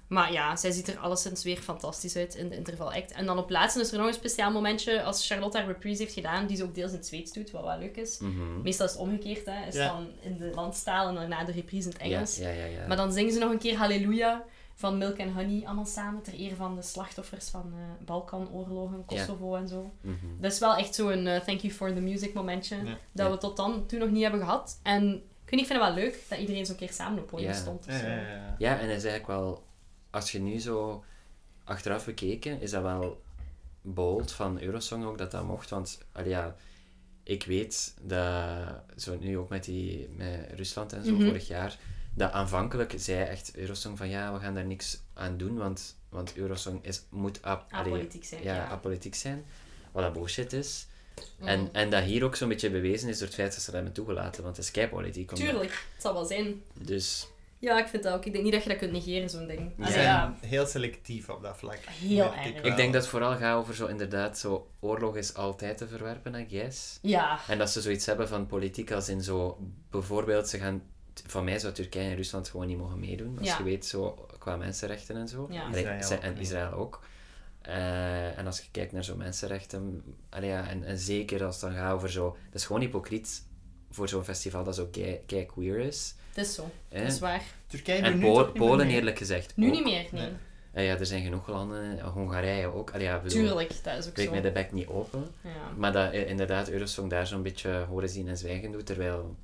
Speaker 1: Maar ja, zij ziet er alleszins weer fantastisch uit in de interval act. En dan op laatste is er nog een speciaal momentje als Charlotte haar reprise heeft gedaan, die ze ook deels in het Zweeds doet, wat wel leuk is.
Speaker 2: Mhm.
Speaker 1: Meestal is het omgekeerd, hè. Is
Speaker 3: Ja.
Speaker 1: dan in de landstaal en daarna de reprise in het
Speaker 2: Ja,
Speaker 1: Engels.
Speaker 2: ja, ja. ja.
Speaker 1: Maar dan zingen ze nog een keer Halleluja van Milk and Honey, allemaal samen ter ere van de slachtoffers van eh, Balkanoorlogen, Kosovo en zo.
Speaker 2: Mhm.
Speaker 1: Dat is wel echt zo'n eh, thank you for the music momentje
Speaker 3: Ja.
Speaker 1: dat
Speaker 2: Ja.
Speaker 1: we tot dan toe nog niet hebben gehad. En ik, weet niet, ik vind het wel leuk dat iedereen zo'n keer samen op het podium
Speaker 2: Ja.
Speaker 1: stond. of
Speaker 3: Ja,
Speaker 1: zo.
Speaker 3: ja, ja.
Speaker 2: Ja, en dat is eigenlijk wel, als je nu zo achteraf bekeken, is dat wel bold van Eurosong ook dat dat mocht. Want allee, ja, ik weet dat, zo nu ook met, die, met Rusland en zo
Speaker 1: Mhm.
Speaker 2: vorig jaar, dat aanvankelijk zei echt Eurosong van ja, we gaan daar niks aan doen, want, want Eurosong is, moet ap- allee,
Speaker 1: Apolitiek zijn,
Speaker 2: ja,
Speaker 1: ja.
Speaker 2: apolitiek zijn. Wat dat bullshit is.
Speaker 1: Mm.
Speaker 2: En, en dat hier ook zo'n beetje bewezen is door het feit dat ze dat hebben toegelaten, want het is keipolitiek. om-
Speaker 1: Tuurlijk, het zal wel zijn.
Speaker 2: Dus
Speaker 1: Ja, ik vind dat ook. Ik denk niet dat je dat kunt negeren, zo'n ding.
Speaker 3: Ze
Speaker 1: Allee,
Speaker 3: zijn
Speaker 1: ja.
Speaker 3: heel selectief op dat vlak.
Speaker 1: Heel
Speaker 3: merk
Speaker 1: erg.
Speaker 2: Ik denk dat het vooral gaat over zo inderdaad, zo oorlog is altijd te verwerpen, I guess.
Speaker 1: Ja.
Speaker 2: En dat ze zoiets hebben van politiek als in zo, bijvoorbeeld ze gaan, van mij zou Turkije en Rusland gewoon niet mogen meedoen, als
Speaker 1: Ja.
Speaker 2: je weet zo qua mensenrechten en zo.
Speaker 1: Ja.
Speaker 2: Allee,
Speaker 3: Israël
Speaker 2: ze-
Speaker 3: ook
Speaker 2: en
Speaker 3: niet.
Speaker 2: Israël ook. Eh, en als je kijkt naar zo mensenrechten, allee, ja, en, en zeker als het dan gaat over zo, dat is gewoon hypocriet voor zo'n festival dat zo kei, kei queer is.
Speaker 1: Het is zo.
Speaker 2: hè.
Speaker 1: Dat is waar.
Speaker 3: Turkije
Speaker 2: En
Speaker 3: doet nu
Speaker 2: Pol-
Speaker 3: toch niet meer
Speaker 2: Polen,
Speaker 3: mee.
Speaker 2: eerlijk gezegd.
Speaker 1: Nu
Speaker 2: ook.
Speaker 1: niet meer, nee.
Speaker 3: Nee.
Speaker 2: Eh, ja, er zijn genoeg landen, Hongarije ook. Allee, ja, ik bedoel,
Speaker 1: Tuurlijk, dat is ook
Speaker 2: breekt
Speaker 1: zo.
Speaker 2: mij de bek niet open.
Speaker 1: Ja.
Speaker 2: Maar dat eh, inderdaad Eurosong daar zo'n beetje horen zien en zwijgen doet, terwijl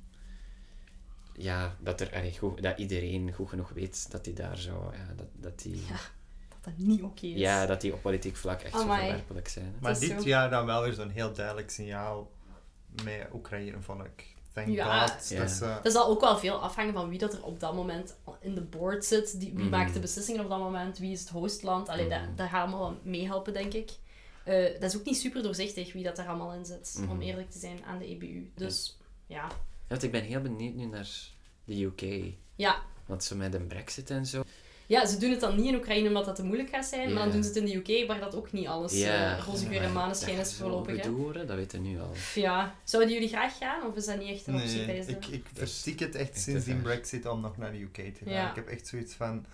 Speaker 2: ja, dat, er, allee, goed, dat iedereen goed genoeg weet dat hij daar zo, ja, dat, dat die,
Speaker 1: Ja, Dat dat niet oké is.
Speaker 2: ja, dat die op politiek vlak echt zo
Speaker 1: Amai.
Speaker 2: verwerpelijk zijn. hè.
Speaker 1: Het
Speaker 3: Maar
Speaker 1: is
Speaker 3: dit
Speaker 1: zo.
Speaker 3: jaar dan wel weer zo'n heel duidelijk signaal met Oekraïne, vond ik. Thank
Speaker 1: Ja.
Speaker 3: God.
Speaker 2: Ja.
Speaker 3: Dat ze-
Speaker 1: Dat zal ook wel veel afhangen van wie dat er op dat moment in de board zit. Die, wie
Speaker 2: Mhm.
Speaker 1: maakt de beslissingen op dat moment? Wie is het hostland? Allee, dat, dat gaat allemaal wel meehelpen, denk ik. Eh, dat is ook niet super doorzichtig wie dat daar allemaal in zit, om
Speaker 2: Mhm.
Speaker 1: eerlijk te zijn aan de EBU. Dus ja.
Speaker 2: Ja, want ik ben heel benieuwd nu naar de UK.
Speaker 1: Ja.
Speaker 2: Want zo met een brexit en zo.
Speaker 1: ja, ze doen het dan niet in Oekraïne omdat dat te moeilijk gaat zijn, maar dan
Speaker 2: Ja.
Speaker 1: doen ze het in de UK, waar dat ook niet alles eh roze geur en maneschijn is voorlopig. hè.
Speaker 2: Gedoe worden, dat weten we nu al.
Speaker 1: Pff, Ja, zouden jullie graag gaan of is dat niet echt een optie
Speaker 3: Nee,
Speaker 1: tijdens de-
Speaker 3: ik, ik verstiek het echt
Speaker 2: Echt
Speaker 3: sinds
Speaker 2: te
Speaker 3: die
Speaker 2: ver.
Speaker 3: brexit om nog naar de UK te gaan.
Speaker 1: Ja.
Speaker 3: Ik heb echt zoiets van,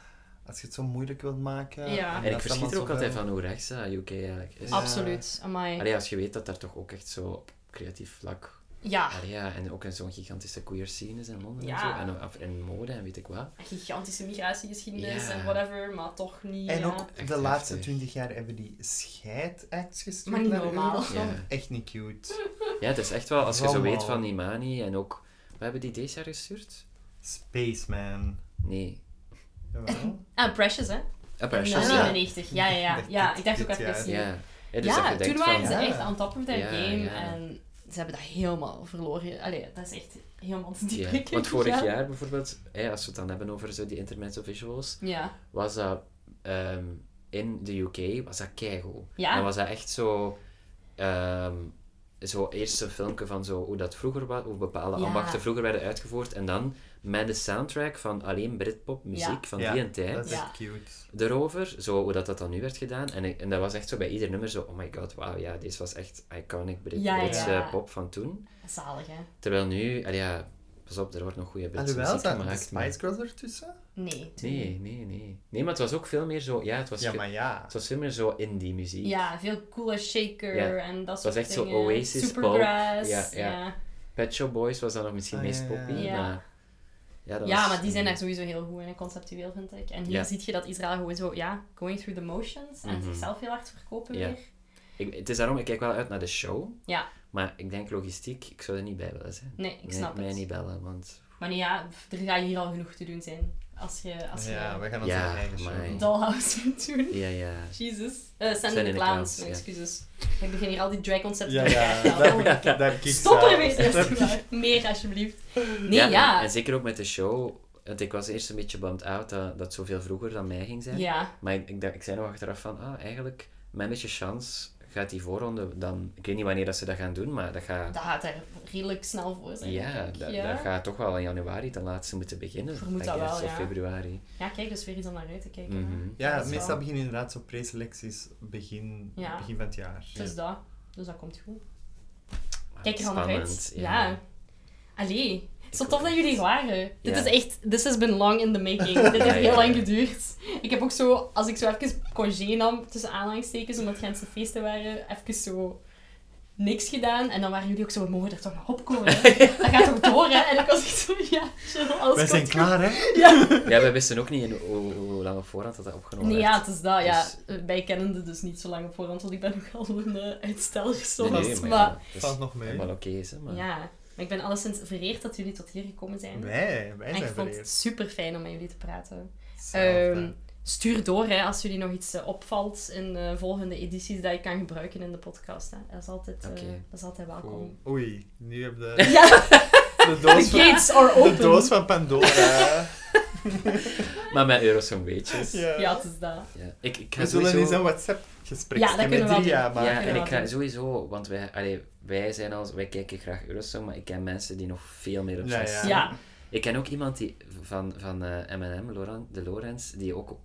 Speaker 3: als je het zo moeilijk wilt maken...
Speaker 1: Ja.
Speaker 2: En
Speaker 3: dat
Speaker 2: ik verschiet er
Speaker 3: allemaal
Speaker 2: ook
Speaker 3: zo
Speaker 2: altijd
Speaker 3: veel-
Speaker 2: van hoe rechts dat UK eigenlijk is.
Speaker 3: Ja.
Speaker 1: Absoluut, amai.
Speaker 2: Allee, als je weet dat daar toch ook echt zo op creatief vlak
Speaker 1: Ja,
Speaker 2: Ah ja, en ook in zo'n gigantische queer scene is in Londen
Speaker 1: Ja.
Speaker 2: en zo. En, of in mode en weet ik wat.
Speaker 1: gigantische migratiegeschiedenis
Speaker 2: Ja.
Speaker 1: en whatever, maar toch niet.
Speaker 3: En
Speaker 1: ja.
Speaker 3: ook
Speaker 2: Echt
Speaker 3: de laatste
Speaker 2: heftig.
Speaker 3: twintig jaar hebben die scheidacts gestuurd
Speaker 1: Maar niet
Speaker 3: naar
Speaker 1: normaal.
Speaker 3: Eurosong.
Speaker 2: Ja.
Speaker 3: Echt niet cute.
Speaker 2: Ja, het is echt wel, als je zo
Speaker 3: Allemaal.
Speaker 2: weet van Imani en ook... We hebben die deze jaar gestuurd?
Speaker 3: Spaceman.
Speaker 2: Nee.
Speaker 3: Jawel.
Speaker 1: Ah, Precious, hè?
Speaker 2: Ah,
Speaker 1: In
Speaker 2: Precious,
Speaker 1: eh,
Speaker 2: ja.
Speaker 1: 99, ja, ja, ja.
Speaker 3: Dit-
Speaker 1: ja ik dacht ook
Speaker 3: dit
Speaker 1: even.
Speaker 3: jaar.
Speaker 1: zien.
Speaker 2: Ja. Ja, dus dat
Speaker 1: Ja,
Speaker 2: je
Speaker 1: toen
Speaker 2: denkt
Speaker 1: waren
Speaker 2: van...
Speaker 1: ze
Speaker 3: ja.
Speaker 1: echt on top of their
Speaker 2: Ja,
Speaker 1: game
Speaker 2: ja.
Speaker 1: en ze hebben dat helemaal verloren. Allee, dat is echt helemaal te diep.
Speaker 2: Ja.
Speaker 1: gekeken,
Speaker 2: Want vorig
Speaker 1: ja.
Speaker 2: jaar bijvoorbeeld, hè, als we het dan hebben over zo die intermezzo visuals,
Speaker 1: Ja.
Speaker 2: was dat ehm, in de UK, was dat keigoed.
Speaker 1: Ja.
Speaker 2: En was dat echt zo... ehm zo eerst een filmpje van zo hoe dat vroeger was, hoe bepaalde
Speaker 1: Ja.
Speaker 2: ambachten vroeger werden uitgevoerd. En dan met de soundtrack van alleen Britpop muziek van
Speaker 3: Ja,
Speaker 2: die en tijd.
Speaker 3: Dat is
Speaker 1: Ja.
Speaker 3: echt cute.
Speaker 2: erover, zo, hoe dat, dat dan nu werd gedaan. En, ik- en dat was echt zo bij ieder nummer zo, oh my god, wauw, ja, deze was echt iconic Brit,
Speaker 1: Ja,
Speaker 2: Britse
Speaker 1: ja.
Speaker 2: pop van toen.
Speaker 1: Zalig, hè?
Speaker 2: Terwijl nu, allee, ja, pas op, er wordt nog goede Britse
Speaker 3: Alhoewel,
Speaker 2: muziek
Speaker 3: zijn de
Speaker 2: gemaakt. maar-
Speaker 3: Spice Girls ertussen?
Speaker 1: Nee. toen niet.
Speaker 2: Nee, nee, nee. Nee, maar het was ook veel meer zo, ja, het was,
Speaker 3: Ja,
Speaker 2: veel,
Speaker 3: maar ja.
Speaker 2: het was veel meer zo indie muziek.
Speaker 1: Ja, veel cooler shaker
Speaker 2: Ja.
Speaker 1: en dat
Speaker 2: Het was
Speaker 1: soort dingen.
Speaker 2: echt zo Oasis,
Speaker 1: Supergrass.
Speaker 2: pop. Ja, ja.
Speaker 1: ja.
Speaker 2: Pet Shop Boys was dan nog misschien
Speaker 3: Ah,
Speaker 2: meest
Speaker 3: ja, ja,
Speaker 2: poppy,
Speaker 1: ja.
Speaker 2: maar... Ja, dat
Speaker 1: Ja,
Speaker 2: was-
Speaker 1: maar die zijn daar sowieso heel goed in, en conceptueel vind ik. En hier
Speaker 2: Ja.
Speaker 1: zie je dat Israël gewoon zo, ja, going through the motions en
Speaker 2: Mhm.
Speaker 1: zichzelf heel hard verkopen
Speaker 2: Ja.
Speaker 1: weer.
Speaker 2: Ik, het is daarom, ik kijk wel uit naar de show.
Speaker 1: Ja.
Speaker 2: Maar ik denk logistiek, ik zou er niet bij willen zijn.
Speaker 1: Nee, ik
Speaker 2: Nee,
Speaker 1: snap
Speaker 2: mij
Speaker 1: het.
Speaker 2: niet bellen, want...
Speaker 1: Maar nee, ja, pff, er gaat hier al genoeg te doen zijn. Als je, als je
Speaker 3: Ja, we gaan onze
Speaker 2: Ja,
Speaker 3: eigen
Speaker 2: amai.
Speaker 3: show doen.
Speaker 1: Dollhouse moet doen.
Speaker 2: Ja, ja.
Speaker 1: Jesus. Eh Sandy
Speaker 2: Sandy
Speaker 1: in
Speaker 2: de
Speaker 1: de
Speaker 2: Clowns,
Speaker 1: Clowns, mijn
Speaker 2: ja.
Speaker 1: excuses. Ik begin hier al die drag-concepten
Speaker 3: Ja,
Speaker 1: te
Speaker 3: ja.
Speaker 1: krijgen.
Speaker 3: Daar,
Speaker 1: Oh,
Speaker 3: daar, kiek ik
Speaker 1: Stop
Speaker 3: zelf.
Speaker 1: ermee, alsjeblieft. Meer, alsjeblieft. Nee,
Speaker 2: Ja,
Speaker 1: ja.
Speaker 2: en- En,
Speaker 1: Ja.
Speaker 2: zeker ook met de show. Want ik was eerst een beetje bummed out dat dat zoveel vroeger dan mij ging zijn. Maar ik, ik, dacht- ik zei nog achteraf van, ah, eigenlijk, met een beetje chance gaat die voorronde dan... Ik weet niet wanneer dat ze dat gaan doen, maar dat gaat...
Speaker 1: dat gaat er redelijk snel voor zijn.
Speaker 2: ja,
Speaker 1: denk ik.
Speaker 2: dat,
Speaker 1: ja.
Speaker 2: dat gaat toch wel in januari ten laatste moeten beginnen.
Speaker 1: Vermoed
Speaker 2: I
Speaker 1: dat wel,
Speaker 2: guess, Of
Speaker 1: ja.
Speaker 2: februari.
Speaker 1: Ja, kijk, dus weer iets om naar uit te kijken. hè.
Speaker 2: Mhm.
Speaker 3: Ja,
Speaker 1: Dat is
Speaker 3: meestal
Speaker 1: wel-
Speaker 3: beginnen inderdaad zo preselecties begin,
Speaker 1: Ja.
Speaker 3: begin van het jaar.
Speaker 1: Dus dat. Dus dat komt goed.
Speaker 2: Ah,
Speaker 1: Kijk er allemaal
Speaker 2: spannend,
Speaker 1: uit. Ja. Allee. Zo tof dat jullie er waren. Dit
Speaker 2: Ja.
Speaker 1: is echt, this has been long in the making. Dit heeft
Speaker 2: ja,
Speaker 1: heel lang
Speaker 2: ja.
Speaker 1: geduurd. Ik heb ook zo, als ik zo even congé nam, tussen aanhalingstekens, omdat Gentse feesten waren, even zo niks gedaan. En dan waren jullie ook zo, we mogen er toch nog opkomen. hè? Dat gaat toch door, hè? En ik was echt zo, ja, chill, alles
Speaker 3: Wij
Speaker 1: komt
Speaker 3: zijn
Speaker 1: goed.
Speaker 3: klaar, hè?
Speaker 1: Ja.
Speaker 2: Ja, we wisten ook niet in hoe, hoe lang op voorhand dat, dat opgenomen
Speaker 1: Nee,
Speaker 2: werd.
Speaker 1: ja, het is dat. Ja.
Speaker 2: Dus-
Speaker 1: Wij kennen het dus niet zo lang op voorhand, want ik ben nogal een eh, uitsteller soms.
Speaker 2: Nee, nee,
Speaker 1: maar
Speaker 2: maar ja, dat is
Speaker 3: Valt nog mee.
Speaker 2: helemaal oké is, hè, maar...
Speaker 1: ja, maar ik ben alleszins vereerd dat jullie tot hier gekomen zijn.
Speaker 3: Wij, wij
Speaker 1: En ik
Speaker 3: zijn
Speaker 1: vond het
Speaker 3: vereerd.
Speaker 1: super fijn om met jullie te praten.
Speaker 3: Hetzelfde.
Speaker 1: Ehm, stuur door hè, als jullie nog iets eh, opvalt in eh, volgende edities dat ik kan gebruiken in de podcast. Hè. Dat, is altijd, eh,
Speaker 2: Oké.
Speaker 1: dat is altijd welkom.
Speaker 3: Cool. Oei, nu heb je de,
Speaker 1: Ja,
Speaker 3: de doos
Speaker 1: the
Speaker 3: van...
Speaker 1: gates are
Speaker 3: De
Speaker 1: open.
Speaker 3: doos van Pandora.
Speaker 2: Maar met Eurosong weetjes. Ja.
Speaker 3: Ja.
Speaker 1: Ja, het is dat.
Speaker 2: Ik, ik ga
Speaker 3: We zullen eens
Speaker 2: sowieso...
Speaker 3: een WhatsApp-gesprek
Speaker 1: Ja, dat kunnen
Speaker 3: met
Speaker 1: we wel
Speaker 3: Dria
Speaker 1: doen.
Speaker 3: maken.
Speaker 2: Ja, en ik ga
Speaker 1: laten.
Speaker 2: sowieso... Want wij, allee, wij zijn al... Wij kijken graag Eurosong, maar ik ken mensen die nog veel meer op
Speaker 3: Ja,
Speaker 2: zijn
Speaker 3: ja.
Speaker 1: Ja,
Speaker 2: staan. Ik ken ook iemand die, van, van eh, M&M, Loran, de Lorenz, die ook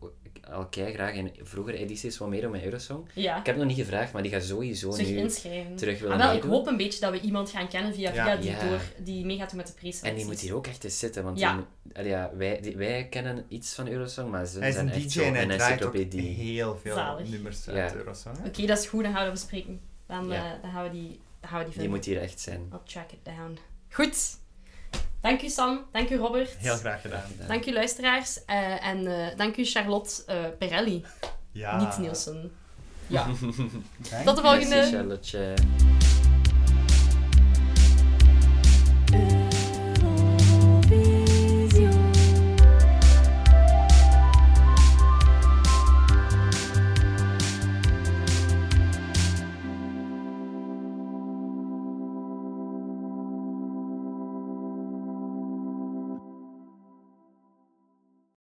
Speaker 2: al kei graag in vroegere edities wil meedoen met Eurosong.
Speaker 1: ja.
Speaker 2: Ik heb het nog niet gevraagd, maar die gaat sowieso
Speaker 1: Zich
Speaker 2: nu...
Speaker 1: inschrijven.
Speaker 2: terug willen
Speaker 1: Ah, wel, ik
Speaker 2: meedoen.
Speaker 1: hoop een beetje dat we iemand gaan kennen via
Speaker 3: Ja.
Speaker 1: via die,
Speaker 2: Ja.
Speaker 1: door, die meegaat doen met de pre
Speaker 2: En die moet hier ook echt eens zitten, want
Speaker 1: Ja.
Speaker 2: die- allee, ja, wij, die- wij kennen iets van Eurosong, maar ze
Speaker 3: Hij is
Speaker 2: zijn
Speaker 3: een
Speaker 2: echt
Speaker 3: DJ
Speaker 2: zo
Speaker 3: en hij
Speaker 2: een
Speaker 3: draait ook
Speaker 2: encyclopedie.
Speaker 3: heel veel
Speaker 1: Zalig.
Speaker 3: nummers
Speaker 2: Ja.
Speaker 3: uit Eurosong. hè?
Speaker 1: Oké, dat is goed, dan gaan we dat bespreken. Dan,
Speaker 2: Ja.
Speaker 1: eh, dan gaan we die, dan gaan we die
Speaker 2: Die
Speaker 1: vinden.
Speaker 2: moet hier echt zijn.
Speaker 1: I'll track it down. Goed. Dank u Sam, dank u Robert.
Speaker 3: Heel graag gedaan.
Speaker 2: Gedaan.
Speaker 1: Dank u luisteraars eh, en eh, dank u Charlotte eh, Perelli,
Speaker 3: Ja.
Speaker 2: Ah.
Speaker 1: niet Nielsen.
Speaker 3: Dank
Speaker 1: Tot de
Speaker 3: je.
Speaker 1: volgende.
Speaker 2: Merci Charlotte.